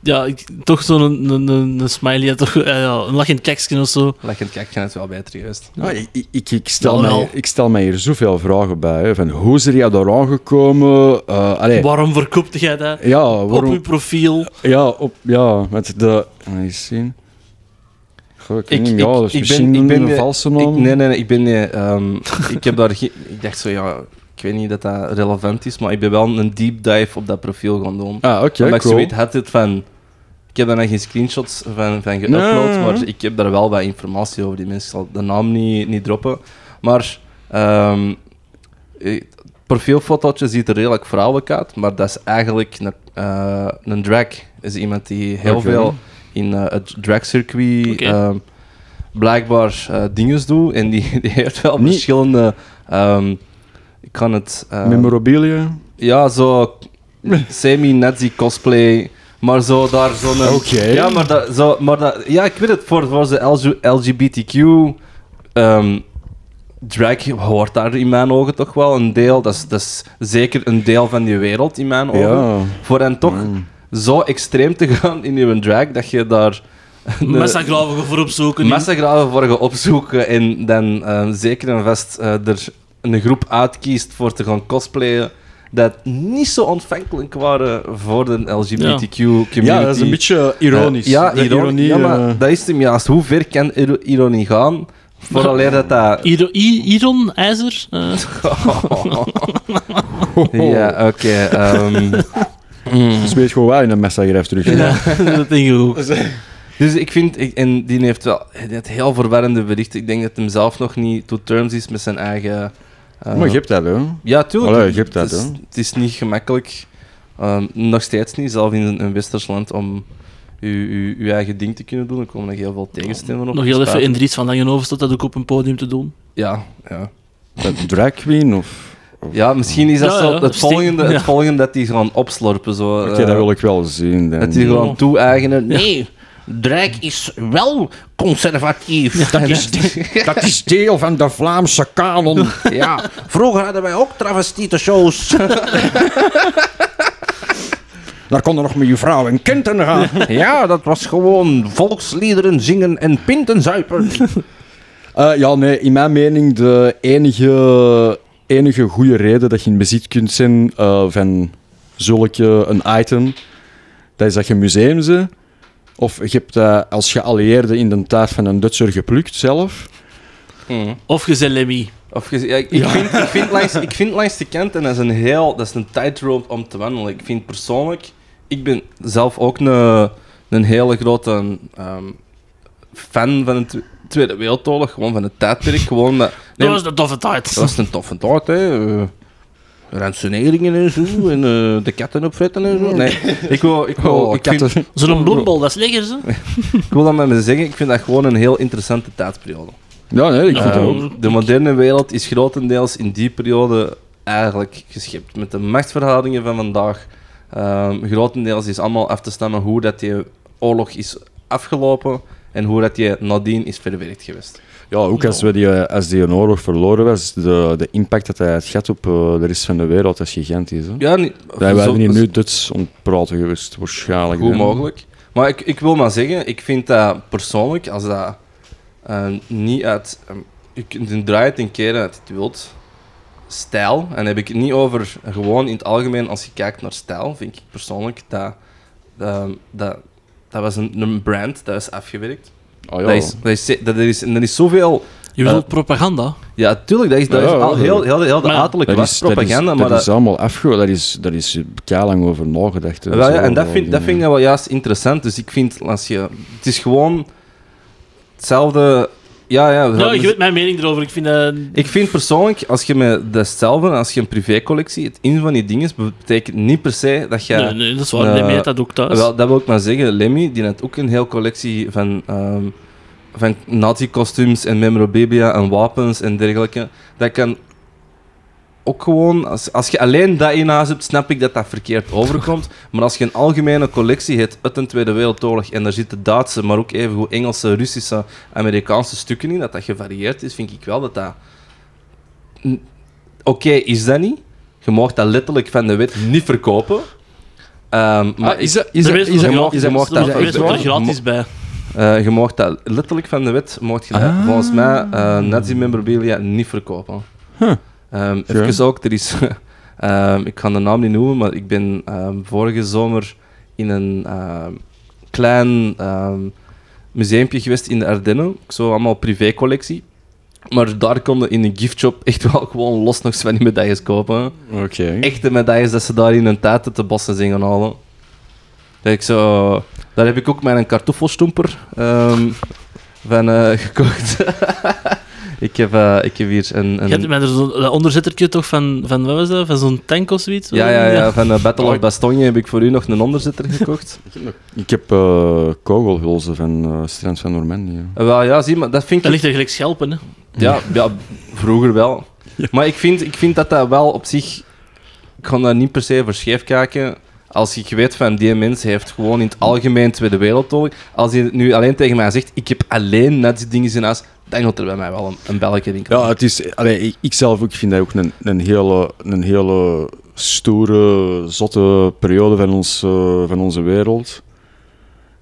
Ja, ik, toch zo'n een, een, een, een smiley, ja, toch, eh, ja, een lachend tekstje of zo. Lachend kijk, het wel beter juist. Ah, ik, ik, ik, stel Ja, wel. mij, ik stel mij hier zoveel vragen bij. Hè, van hoe is er jou daar aangekomen? Eh, allee, Waarom verkoopte jij dat? ja, Op waarom? uw profiel. Ja, op, ja, met de... Eens zien. Goh, ik, weet Ik- niet, ik- ja, dat is ik ben- misschien ik ben, een eh, valse Ik, naam. nee, nee, nee, ik ben. eh, ehm, ik heb daar geen. Ik dacht zo, ja, ik weet niet dat dat relevant is, maar ik ben wel een deep dive op dat profiel gaan doen. Ah, oké, Omdat ik cool. zoiets had het van. Ik heb daar nog geen screenshots van, van geüpload, Nee. maar ik heb daar wel wat informatie over die mensen. Ik zal de naam niet, niet droppen. Maar ehm, eh, het profielfotootje ziet er redelijk vrouwelijk uit, maar dat is eigenlijk een, eh, een drag. Is iemand die heel Oké. veel in eh, het dragcircuit Oké. ehm, blijkbaar eh dingen doet. En die, [laughs] die heeft wel Niet- verschillende. ehm, ik kan het. eh, Memorabilia. ja, zo semi-Nazi cosplay Maar zo daar zo'n... Oké. Ja, maar, dat, zo, maar dat, ja, ik weet het, voor, voor de LG LGBTQ... ehm, drag hoort daar in mijn ogen toch wel een deel. Dat is, dat is zeker een deel van die wereld in mijn ogen. Ja. Mm. Voor hen toch zo extreem te gaan in hun drag, dat je daar... een- Massagraven voor opzoeken. massagraven voor gaan opzoeken en dan eh, zeker en vast eh, er een groep uitkiest voor te gaan cosplayen dat niet zo ontvankelijk waren voor de LGBTQ community. Ja, dat is een beetje ironisch. Eh, ja, De ironie, ironie, ja, maar eh, dat is hem juist. Hoe ver kan iro- ironie gaan? Vooraleer dat [laughs] dat... Iro- I- Iron, ijzer. eh. [laughs] [laughs] Ja, oké. ehm, mm. Dus weet gewoon waar je een massagraf terug [laughs] ja, dat denk ik ook. Dus ik vind... Ik, en die heeft wel die heeft heel verwarrende berichten. Ik denk dat hem zelf nog niet to terms is met zijn eigen... eh, Maar je hebt dat, hoor. Ja, tuurlijk. Allee, je hebt dat, het, is, hè. het is niet gemakkelijk. Ehm, nog steeds niet, zelf in een, een westers land, om je uw, uw eigen ding te kunnen doen. Er komen nog heel veel tegenstemmen op. Nog heel even Spijt. in Dries van Langenhoven staat dat ook op een podium te doen. Ja, ja. Een Drag queen of... ja, misschien is dat Ja, zo ja, het, stik- volgende, ja. het volgende dat die gaan opslorpen. Zo, Oké, eh, dat wil ik wel zien. Dan. dat die gewoon toe-eigenen. Nee, Drake is wel conservatief. Dat is, dat is deel van de Vlaamse kanon. Ja, vroeger hadden wij ook travestietenshows. Daar kon er nog met je vrouw en kind aan gaan. Ja, dat was gewoon volksliederen zingen en pintenzuipen. Eh, ja, nee, in mijn mening de enige, enige goede reden dat je in bezit kunt zijn eh, van zulke een item, dat is dat je museum ze of je hebt dat als geallieerde in de taart van een Duitser geplukt zelf. Mm. [laughs] Of gezellemie. Of gez- ja, ik, ik vind, ik, vind langs, ik vind langs de kant, en dat is een heel, dat is een tightrope om te wandelen. Ik vind persoonlijk, ik ben zelf ook een, een hele grote ehm, fan van de Twe- Tweede Wereldoorlog, gewoon van het tijdperk. Gewoon dat, nee, Dat was een toffe tijd. dat was een toffe dag. Wat, hè? eh, Ransoneringen en zo, en eh, de katten opzetten en zo. [laughs] Nee, ik wil, ik wil, Oh, Oh, ik vind, katten. Zo'n bloembal, dat is lekker, ze. ik wil dat met me zeggen, ik vind dat gewoon een heel interessante tijdperiode. Ja, nee, ik vind Ehm, dat ook. de moderne wereld is grotendeels in die periode eigenlijk geschikt. Met de machtsverhoudingen van vandaag, ehm, grotendeels is allemaal af te stemmen hoe dat die oorlog is afgelopen en hoe dat die nadien is verwerkt geweest. Ja, ook als, we die, eh, als die een oorlog verloren was, de, de impact dat hij had gehad op eh, de rest van de wereld, dat is gigantisch. Hè? Ja, niet, Wij zo- waren hier nu Duits ontpraten geweest, waarschijnlijk. Goed hè. mogelijk. Maar ik, ik wil maar zeggen, ik vind dat persoonlijk, als dat ehm, niet uit... ehm, je kunt een draai het en keren uit het wilt. Stijl, en heb ik het niet over gewoon in het algemeen, als je kijkt naar stijl, vind ik persoonlijk dat... ehm, dat dat was een, een brand, dat is afgewerkt. Ah, ja. Dat is, dat, is, dat, is, en dat is zoveel... Je bedoelt propaganda. Ja, tuurlijk, dat is, dat Ja, is ja, al ja. heel, heel, heel de Maar- uiterlijke was propaganda, dat maar dat, is allemaal afge... Dat is, dat is lang over nagedacht. Wel, ja, en dat vind, dat vind ik wel juist interessant. Dus ik vind, als je, het is gewoon hetzelfde. Ja, ja. Ja, je weet mijn mening erover. Ik vind dat... dus- Ik vind persoonlijk, als je met datzelfde, als je een privécollectie, het in van die dingen betekent niet per se dat je. Nee, nee, dat is waar. Eh, Nee, mij had dat ook thuis. Wel, dat wil ik maar zeggen. Lemmy, die had ook een hele collectie van, ehm, van nazi-kostuums en memorabilia en wapens en dergelijke. Dat kan ook gewoon... Als, als je alleen dat in huis hebt, snap ik dat dat verkeerd overkomt. Maar als je een algemene collectie hebt uit de Tweede Wereldoorlog en daar zitten Duitse, maar ook evengoed Engelse, Russische, Amerikaanse stukken in, dat dat gevarieerd is, vind ik wel dat dat... N- Oké, is dat niet. Je mag dat letterlijk van de wet niet verkopen. Ehm, maar ik- is dat, Is is dat, is je dat, mag- je mag dat- er je mag- gratis bij. eh, je mag dat letterlijk van de wet, mocht je dat Ah. volgens mij eh nazi-memorabilia niet verkopen. Huh. Ehm, Sure. Even ook, er is, [laughs] ehm, ik kan de naam niet noemen, maar ik ben ehm, vorige zomer in een ehm, klein ehm museumpje geweest in de Ardennen. Zo allemaal privécollectie. Maar daar konden in een giftshop echt wel gewoon los nog eens van die medailles kopen. Oké. Echte medailles dat ze daar in hun tijd uit de bossen zijn gaan halen. Dat ik zo, daar heb ik ook mijn kartoffelstoemper ehm, van eh, [laughs] gekocht. ik, heb, eh, ik heb hier een... een- Je hebt mij er zo'n dat onderzettertje toch van, van, wat was dat? Van zo'n tank of zoiets? ja, ja, ja, van eh, Battle Oh, of ik- Bastogne heb ik voor u nog een onderzitter gekocht. Ik heb eh kogelhulzen van eh Strand van Normandië. Eh, wel ja, zie, maar dat vind ik... Dat ligt er gelijk schelpen, hè. Ja, ja, vroeger [laughs] wel. Maar ik vind, ik vind dat dat wel op zich... Ik ga daar niet per se voor scheef kijken. Als ik weet van die mens heeft gewoon in het algemeen Tweede Wereldoorlog. Als hij nu alleen tegen mij zegt: Ik heb alleen net die dingen in huis. dan gaat er bij mij wel een, een belletje rinkelen. Ja, het is, allee, ik, ik zelf ook vind dat ook een, een, hele, een hele stoere, zotte periode van, ons, eh, van onze wereld.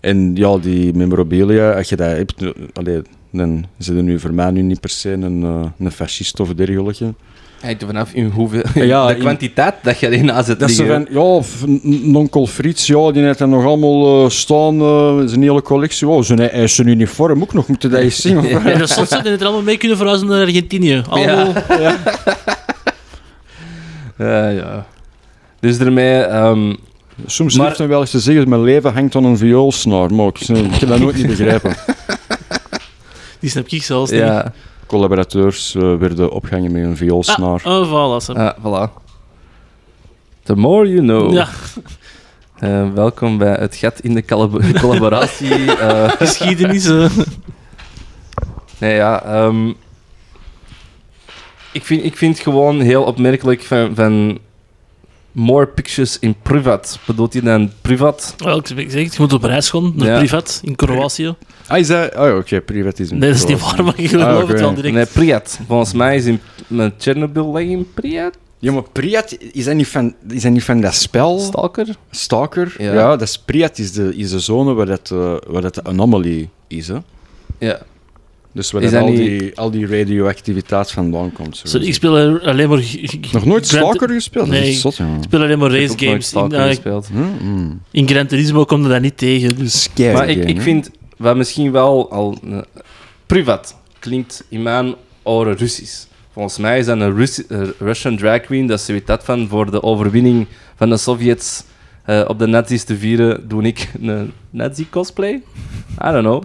En ja, die memorabilia, als je dat hebt, eh, allee, dan zit er nu voor mij nu niet per se een, eh, een fascist of dergelijke. Hangt er vanaf in hoeveel. [laughs] Ja, de in- kwantiteit dat je erin aan zit Dat ze liggen. van, ja, f- n- nonkel Frits, ja, die heeft dan nog allemaal eh, staan, eh, zijn hele collectie. Oh, zijn, hij is zijn uniform ook nog, moeten dat eens zien. [laughs] [laughs] Ja, dat soms zouden het er allemaal mee kunnen verhuizen naar Argentinië. Allemaal. Ja, ja. Dus daarmee. ehm, Soms Maar- maar... heeft hij wel eens te zeggen, mijn leven hangt aan een vioolsnaar, maar ik, ik heb dat nooit niet begrijpen. Die snap ik zelfs niet. ja, Collaborateurs eh, werden opgehangen met een vioolsnaar. Ah, oh, voilà. Sam. ah, voilà. The more you know. Ja, Eh, welkom bij het gat in de collab- [laughs] collaboratie. eh, geschiedenis. eh. Nee, ja. ehm, ik, vind, ik vind het gewoon heel opmerkelijk van, van more pictures in privat. Bedoelt hij dan privat? Wel, ik zeg, het, je moet op reis gaan, naar Ja. privat, in Kroatië. Ah, is dat... Oh, ja, oké, privatisme. Nee, dat is niet waar, maar ik geloof Ah, oké. het wel direct. Nee, priat. Volgens mij is in met Chernobyl lag in priat. Ja, maar Priat, is dat niet van, is dat, niet van dat Oh. spel? Stalker? Stalker? Ja. Ja, dat is, Priat is de, is de zone waar dat, eh, waar dat de anomaly is, hè. Ja. Dus waar Is dat dat al, niet- die, al die radioactiviteit vandaan komt. zo Zo, ik gezegd. speel er alleen maar... Ik ik Nog nooit Grand- Stalker gespeeld? Nee. Dat is zot, ja. speel alleen maar race Ik heb ook nooit games. In, Stalker eh, gespeeld. Hm, hm. in Gran Turismo kom je dat niet tegen. Dus. Scary Maar ik, game, ik hè. vind wat misschien wel al. eh, privat klinkt in mijn oren Russisch. Volgens mij is dat een Russi- eh, Russian drag queen. Dat ze weet dat van voor de overwinning van de Sovjets eh, op de Nazis te vieren. Doe ik een Nazi cosplay? I don't know.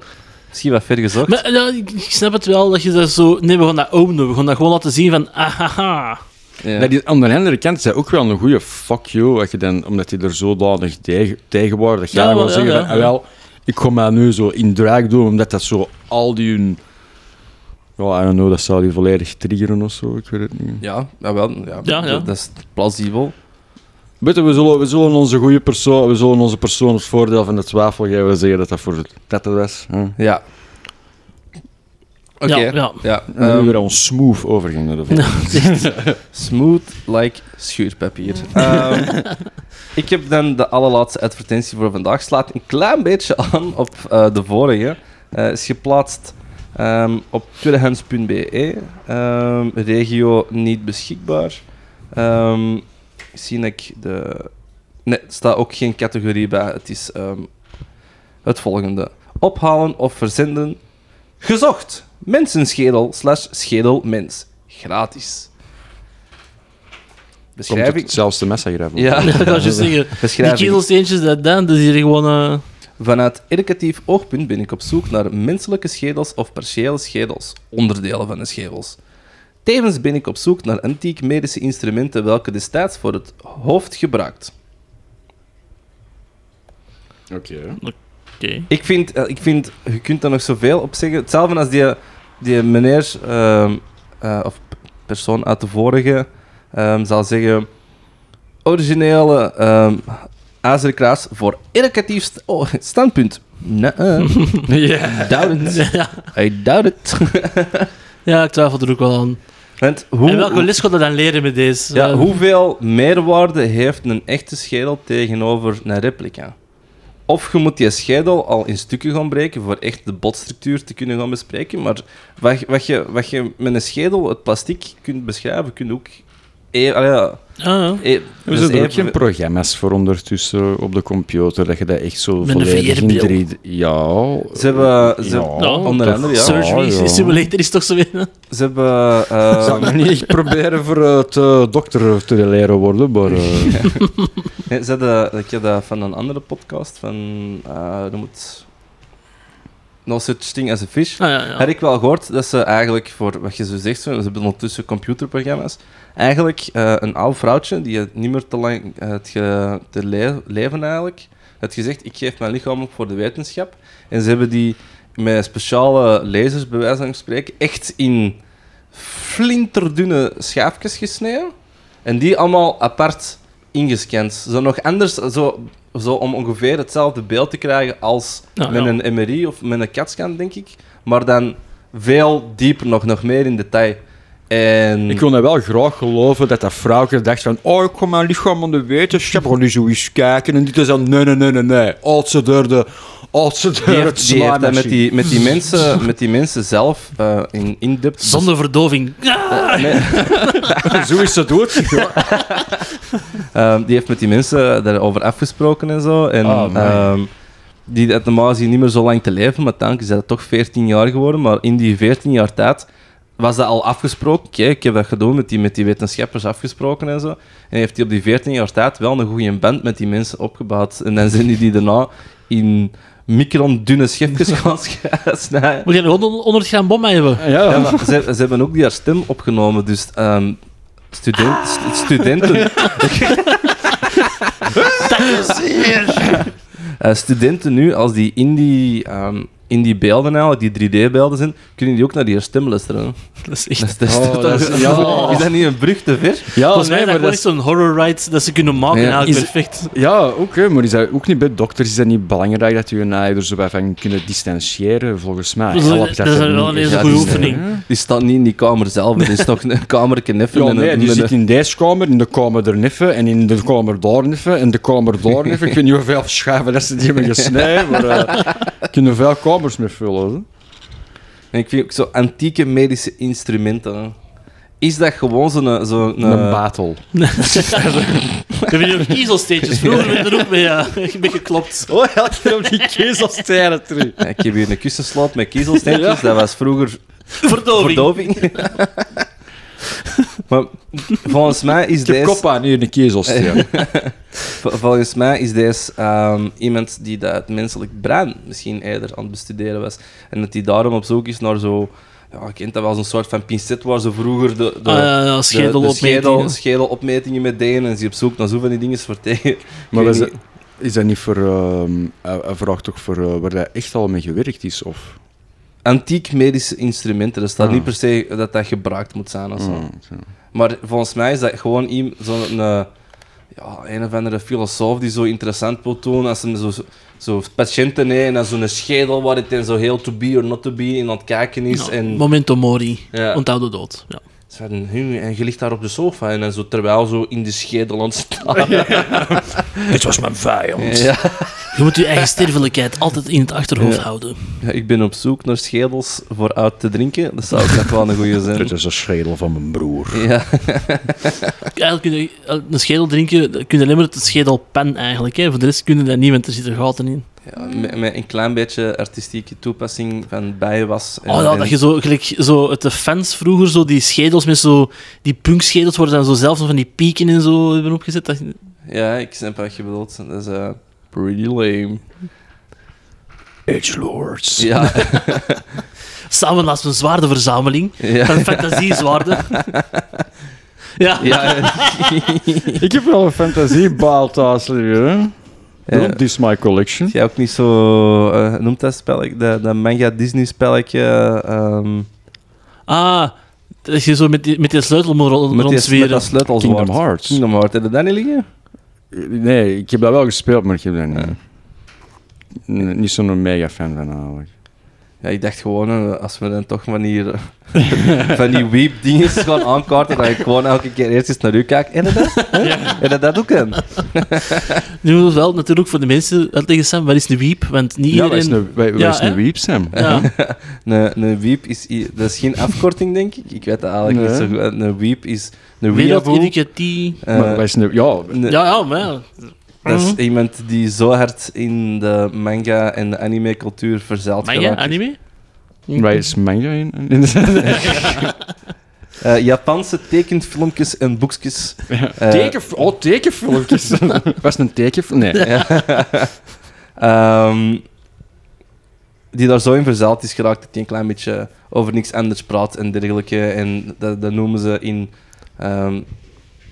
Misschien wat ver gezocht. Maar ja, ik ik snap het wel dat je dat zo... Nee, we gaan dat openen. We gaan dat gewoon laten zien van... "Ah, Ahaha. Ja. Dat is, aan de andere kant is dat ook wel een goede fuck you, als je dan, omdat die er zodanig tegen, tegen waren, dat jij Ja, dan wel wel, zeggen ja, van, ja. "Ah, wel, ik ga mij nu zo in draak doen, omdat dat zo al die hun... Ja, I don't know, dat zou die volledig triggeren of zo, ik weet het niet. Ja, jawel, ja. Ja, ja. Dat, dat is plausibel. Weet je, we zullen, we zullen onze goede persoon, we zullen onze persoon het voordeel van de twijfel geven, we zeggen dat dat voor het tetten was. Ehm. Hè? En Ja. Oké. Ja, ja. Ja, we ehm, weer al smooth [laughs] overgingen ervan. Smooth like schuurpapier. Ehm, ik heb dan de allerlaatste advertentie voor vandaag. Slaat een klein beetje aan op eh, de vorige. Eh, is geplaatst ehm, op tweedehands.be. Ehm, regio niet beschikbaar. Ehm, ik zie dat ik de... Nee, er staat ook geen categorie bij. Het is ehm, het volgende. Ophalen of verzenden. Gezocht. Mensenschedel slash schedelmens. Gratis. Komt Beschrijving. het zelfs de messa graven. Ja. Ja, [laughs] dat kan je zeggen. Die Beschrijving. ketelsteentjes, dat dan, dat is hier gewoon... eh, Vanuit educatief oogpunt ben ik op zoek naar menselijke schedels of partiële schedels, onderdelen van de schedels. Tevens ben ik op zoek naar antiek medische instrumenten welke destijds voor het hoofd gebruikt. Oké. Oké. Ik vind, eh, ik vind, je kunt daar nog zoveel op zeggen. Hetzelfde als die, die meneer ehm, eh, of p- persoon uit de vorige ehm zal zeggen: originele ehm ijzeren kraas voor educatief st- oh, standpunt. Nee, eh. Ja. doubt it. [laughs] ja. I doubt it. Ja, ik twijfel er ook wel aan. Want hoe, en welke les gaat dat dan leren met deze? ja, Eh, hoeveel meerwaarde heeft een echte schedel tegenover een replica? Of je moet die schedel al in stukken gaan breken voor echt de botstructuur te kunnen gaan bespreken. Maar wat, wat, je, wat je met een schedel, het plastic, kunt beschrijven, kun je ook... E allee, ja, Ah, e- We dus zijn er ook even- geen programma's voor ondertussen op de computer, dat je dat echt zo Met een volledig in VR-bril. 3D... Ja. Ze hebben- ze- Ja. Ja. Onder toch? andere, ja. ja. Surgery Ja, ja. [laughs] Simulator is toch zo weer. hè? Ah, Ze hebben... eh, Zou ik nog niet [laughs] echt proberen voor het eh, dokter te leren worden, maar... eh, [laughs] Nee, ze hadden, ik heb dat van een andere podcast, van... eh noem het... No such thing as a fish. Ah, ja, ja. Had ik wel gehoord dat ze eigenlijk, voor wat je zo zegt, zo, ze hebben ondertussen computerprogramma's, eigenlijk eh, een oud vrouwtje, die het niet meer te lang eh, het ge- te le- leven eigenlijk, had gezegd, ik geef mijn lichaam op voor de wetenschap. En ze hebben die met speciale lasers, bij wijze van spreken, echt in flinterdunne schaafjes gesneden. En die allemaal apart ingescand. Zo nog anders, zo, zo om ongeveer hetzelfde beeld te krijgen als Ja, met ja. een MRI of met een CAT-scan, denk ik. Maar dan veel dieper nog, nog meer in detail. En Ik wil nou wel graag geloven dat dat vrouwtje dacht van oh, ik kom mijn lichaam aan de wetenschap, gewoon nu zo eens kijken. En dit is dan nee, nee, nee, nee, nee. Als ze door de... Als ze door die het heeft, die heeft dat met slijmmachine. die, met die, mensen, met die mensen zelf eh, in, in depth Zonder verdoving. Ah! Nee, [laughs] Zo is het doodgegaan. ehm, die heeft met die mensen daarover afgesproken en zo. En, Ah, man. ehm, die had normaal gezien niet meer zo lang te leven, maar tank is dat toch 14 jaar geworden. Maar in die 14 jaar tijd was dat al afgesproken. Oké, ik heb dat gedaan met die, met die wetenschappers afgesproken en zo. En heeft hij op die 14 jaar tijd wel een goede band met die mensen opgebouwd. En dan zijn die die daarna in micron dunne schepjes [laughs] gaan snijden. Moet je nog 100 gram bom mee hebben? Ja, Ja, maar ze, ze hebben ook die haar stem opgenomen, dus ehm, Ah. student, st- studenten. [laughs] [laughs] Eh, studenten nu, als die in die, ehm, in die beelden eigenlijk, die 3D-beelden zijn, kunnen die ook naar die haar stem luisteren. hè. Dat is echt... Dat is- dat is- Oh, dat dat is- is- ja. [laughs] Is dat niet een brug te ver? ja, Volgens mij nee, is dat maar gewoon dat echt is- zo'n horror ride dat ze kunnen maken. Ja. eigenlijk Is- perfect. ja, oké, maar is dat ook niet bij dokters is dat niet belangrijk dat je nou, er zo bij van kunnen distancieren, volgens mij. Dus, Helpt dat is dan dus, wel niet? een hele Ja, goede eh, die is- oefening. Die staat niet in die kamer zelf, het is nog een kamertje neffen. Ja, en een- nee, die met zit een- in deze kamer, in de kamer er niffen, en in de kamer daar niffen, en de kamer daar niffen. Ik weet niet hoeveel schuiven dat ze die hebben gesneden, maar eh, je kunt er veel kamers mee vullen. hè. En ik vind ook zo antieke medische instrumenten. hè. Is dat gewoon zo'n... zo'n Een eh, batel. We hebben hier ook kiezelsteentjes. Vroeger werd er ook mee, ja, mee geklopt. Oh, elke keer op die kezelstijlen terug. Ja, Ik heb hier een kussenslot met kiezelsteentjes. Dat was vroeger Verdoving. verdoving. maar volgens mij is Ik heb deze... kop aan hier, een [laughs] kezelstijl. vol- Volgens mij is deze ehm, iemand die dat het menselijk brein misschien eerder aan het bestuderen was. En dat hij daarom op zoek is naar zo... Ja, ik kent dat wel, zo'n soort van pincet waar ze vroeger de, de, Ah, ja, ja, de- de schedel, schedelopmetingen. schedelopmetingen met deden. En ze op zoek naar zo van die dingen voor tegen. Maar Ik was weet dat, niet. is dat niet voor... ehm, hij- hij vraagt toch voor eh, waar hij echt al mee gewerkt is, of... Antiek medische instrumenten, Dus dat staat Ah. niet per se dat dat gebruikt moet zijn. Of zo. Hmm, zo. Maar volgens mij is dat gewoon iem- zo'n eh, ja, een of andere filosoof die zo interessant wil doen. Als hem zo, zo patiënten heeft en dan zo'n schedel waar het in zo heel to be or not to be in aan het kijken is. Ja, en Momento mori. Ja. Onthoud de dood. Ja. ze van, "Hu, en je ligt daar op de sofa en dan zo terwijl zo in de schedel aan het [laughs] staan. Dit was mijn vijand. Ja. Je moet je [laughs] eigen sterfelijkheid altijd in het achterhoofd houden. Ja, ik ben op zoek naar schedels voor uit te drinken. Dat zou ook nog wel een goede zijn. Dit is de schedel van mijn broer. Ja. Eigenlijk kun je eh, een schedel drinken, dan kun je alleen maar het schedelpen eigenlijk. Hè. Voor de rest kun je dat niet, want er zitten gaten in. Ja, met, met een klein beetje artistieke toepassing van bijenwas. en- Oh ja, en- dat je zo, gelijk, zo het de fans vroeger, zo die schedels met zo, die punkschedels worden dan zo zelfs nog van die pieken en zo hebben opgezet. Dat, ja, ik snap wat je bedoelt. Dat is eh, pretty lame. Edge lords. Ja, samen naast een zwaardenverzameling. ja. Van [laughs] fantasiezwaarden. ja. Ja, [laughs] Ik heb wel een fantasiebaal thuis liggen. hè. Don't This my collection. jij ook niet zo... eh, noemt dat spelletje? Dat, dat manga Disney spelletje... ehm, Ah, dat je zo met die, met die sleutel moet rond- met, die, met rondzwieren. dat sleutelzwaard. Kingdom Hearts. Kingdom Hearts. Heb je dat niet liggen? Nee, ik heb dat wel gespeeld, maar ik heb dat niet. Nee, niet zo'n mega fan van eigenlijk. Ja, ik dacht gewoon, eh, als we dan toch van [laughs] hier... eh, van die weep-dingen gaan aankaarten, dat ik gewoon elke keer eerst eens naar u kijk. En dat? Ja. En dat ook dan? Nu moet het wel natuurlijk voor de mensen uitleggen, Sam, wat is een wiep? Want niet Ja, wij is iedereen... een, wij, wij Ja, is een hè? weep, Sam. [laughs] Ja, Een, een weep is... i- Dat is geen afkorting, denk ik. Ik weet dat eigenlijk Nee. niet zo goed. Een weep is... Een weeaboo. wereldeducatief... eh, maar wij is een, ja, een- Ja, ja, maar ja. Dat Mhm. is iemand die zo hard in de manga en de anime-cultuur verzeild Manga, geraakt is. anime? wij is manga in. Eh, Japanse tekenfilmpjes en [laughs] boekjes. Eh, Teken, oh, tekenfilmpjes. [laughs] was het een tekenfilm? Nee. ehm, die daar zo in verzeild is geraakt dat hij een klein beetje over niks anders praat en dergelijke. En dat, dat noemen ze in... ehm,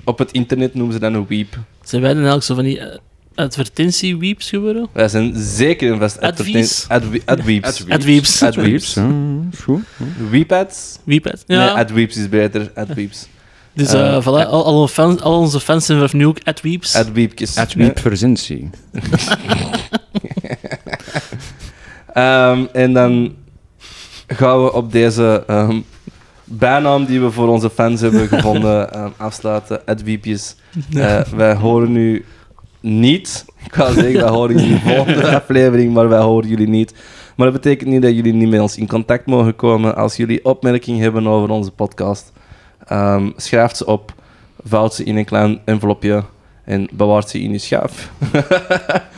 op het internet noemen ze dat een weep. Zijn wij dan eigenlijk zo van die eh, advertentie-weeps geworden? Wij zijn zeker en vast Advies. advertent- adwe- Adweeps. Adweeps. Adweeps. Adweeps. Weeps, hè, is goed. Weepads? Weepad. Nee, Ja. Adweeps is beter. Adweeps. Dus Eh, eh, voilà, al, al, onze fans, al onze fans zijn vanaf nu ook atweeps. Ed Wiepkes. Adweep Verzentie. Ehm, en dan gaan we op deze ehm, bijnaam die we voor onze fans hebben gevonden ehm, afsluiten. Ed Wiepjes. Eh, wij horen u niet. Ik ga zeggen, wij horen jullie in de volgende aflevering, maar wij horen jullie niet. Maar dat betekent niet dat jullie niet met ons in contact mogen komen. Als jullie opmerkingen hebben over onze podcast, ehm, schrijf ze op, vouwt ze in een klein envelopje en bewaart ze in je [laughs] schaaf. En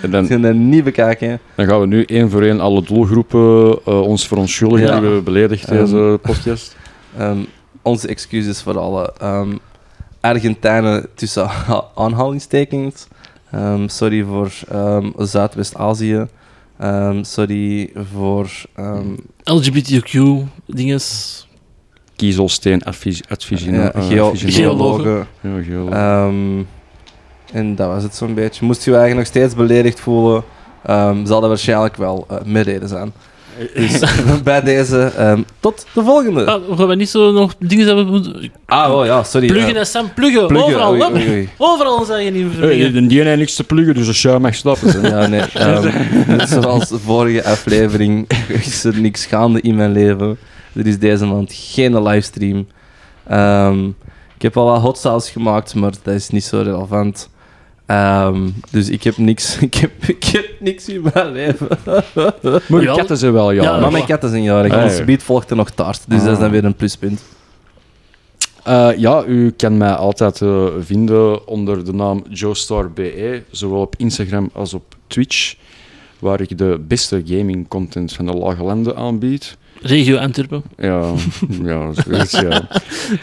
Ze dan, gaan dat niet bekijken. dan gaan we nu één voor één alle doelgroepen eh, ons verontschuldigen Ja. die we hebben beledigd Ehm. deze podcast. Ehm, onze excuses voor alle ehm, Argentijnen tussen [laughs] aanhalingstekens. Ehm, sorry voor ehm, Zuidwest-Azië. Ehm, sorry voor. ehm, LGBTQ-dinges. Kiezelsteen, advies, advies, ja, eh, geo- geologen. Ja, geologen. Ehm, en dat was het zo'n beetje. Moest je je eigenlijk nog steeds beledigd voelen, ehm, zal dat waarschijnlijk wel eh mededen zijn. [laughs] Dus bij deze, ehm, tot de volgende. Ah, Ah, we gaan we niet zo nog dingen hebben moeten... oh ja, sorry. Pluggen eh, en Sam, pluggen. pluggen, Overal, oei, hup. oei, oei. Overal zijn je niet Hey, verbruggen. die die heeft niks te pluggen, dus als jij mag stappen. hè. Ja, nee. ehm, net zoals de vorige aflevering is er niks gaande in mijn leven. Er is deze maand geen livestream. Ehm, ik heb al wat hot sauce gemaakt, maar dat is niet zo relevant. Ehm, dus ik heb niks, [laughs] ik heb, ik heb niks in mijn leven. [laughs] Maar Ja. die katten zijn wel Ja, ja. maar mijn kat is een jarig. Hey. Ons gebied volgt er nog taart. Dus dat is dan weer een pluspunt. Eh, ja, u kan mij altijd eh, vinden onder de naam JoestarBE, zowel op Instagram als op Twitch, waar ik de beste gaming content van de lage landen aanbied. Regio Antwerpen. Ja, [laughs] ja, zoiets, ja.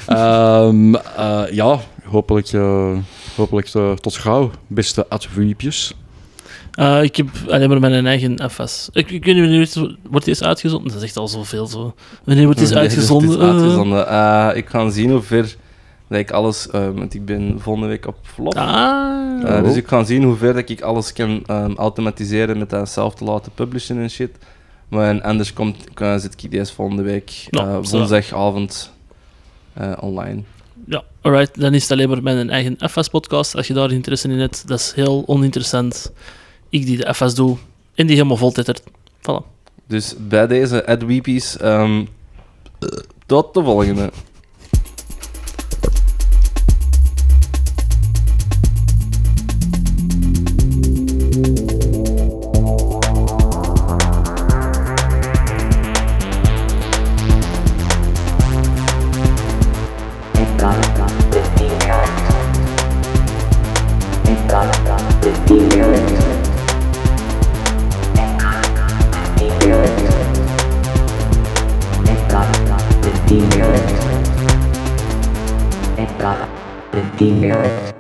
Ehm, eh, ja, hopelijk, eh, hopelijk eh, tot gauw, beste adwiepjes. Eh, ik heb alleen maar mijn eigen FS. Ik, ik weet niet wanneer het- wordt deze uitgezonden. Dat is echt al zoveel zo. Wanneer wordt deze Nee, het is- dus het is uitgezonden? uitgezonden. Eh, ik ga zien hoe ver dat ik alles... eh, want ik ben volgende week op vlog. Eh, ah. Uh, Oh. dus ik ga zien hoe ver dat ik alles kan ehm, automatiseren met dat zelf te laten publishen en shit. Maar en anders komt, eh, zit ik deze volgende week Nou, eh, zo. woensdagavond eh, online. Ja, alright. Dan is het alleen maar mijn eigen FS-podcast. Als je daar interesse in hebt, dat is heel oninteressant. Ik die de FS doe en die helemaal vol tittert. Voilà. Dus bij deze adweepies, ehm tot de volgende. Thank God. The demon.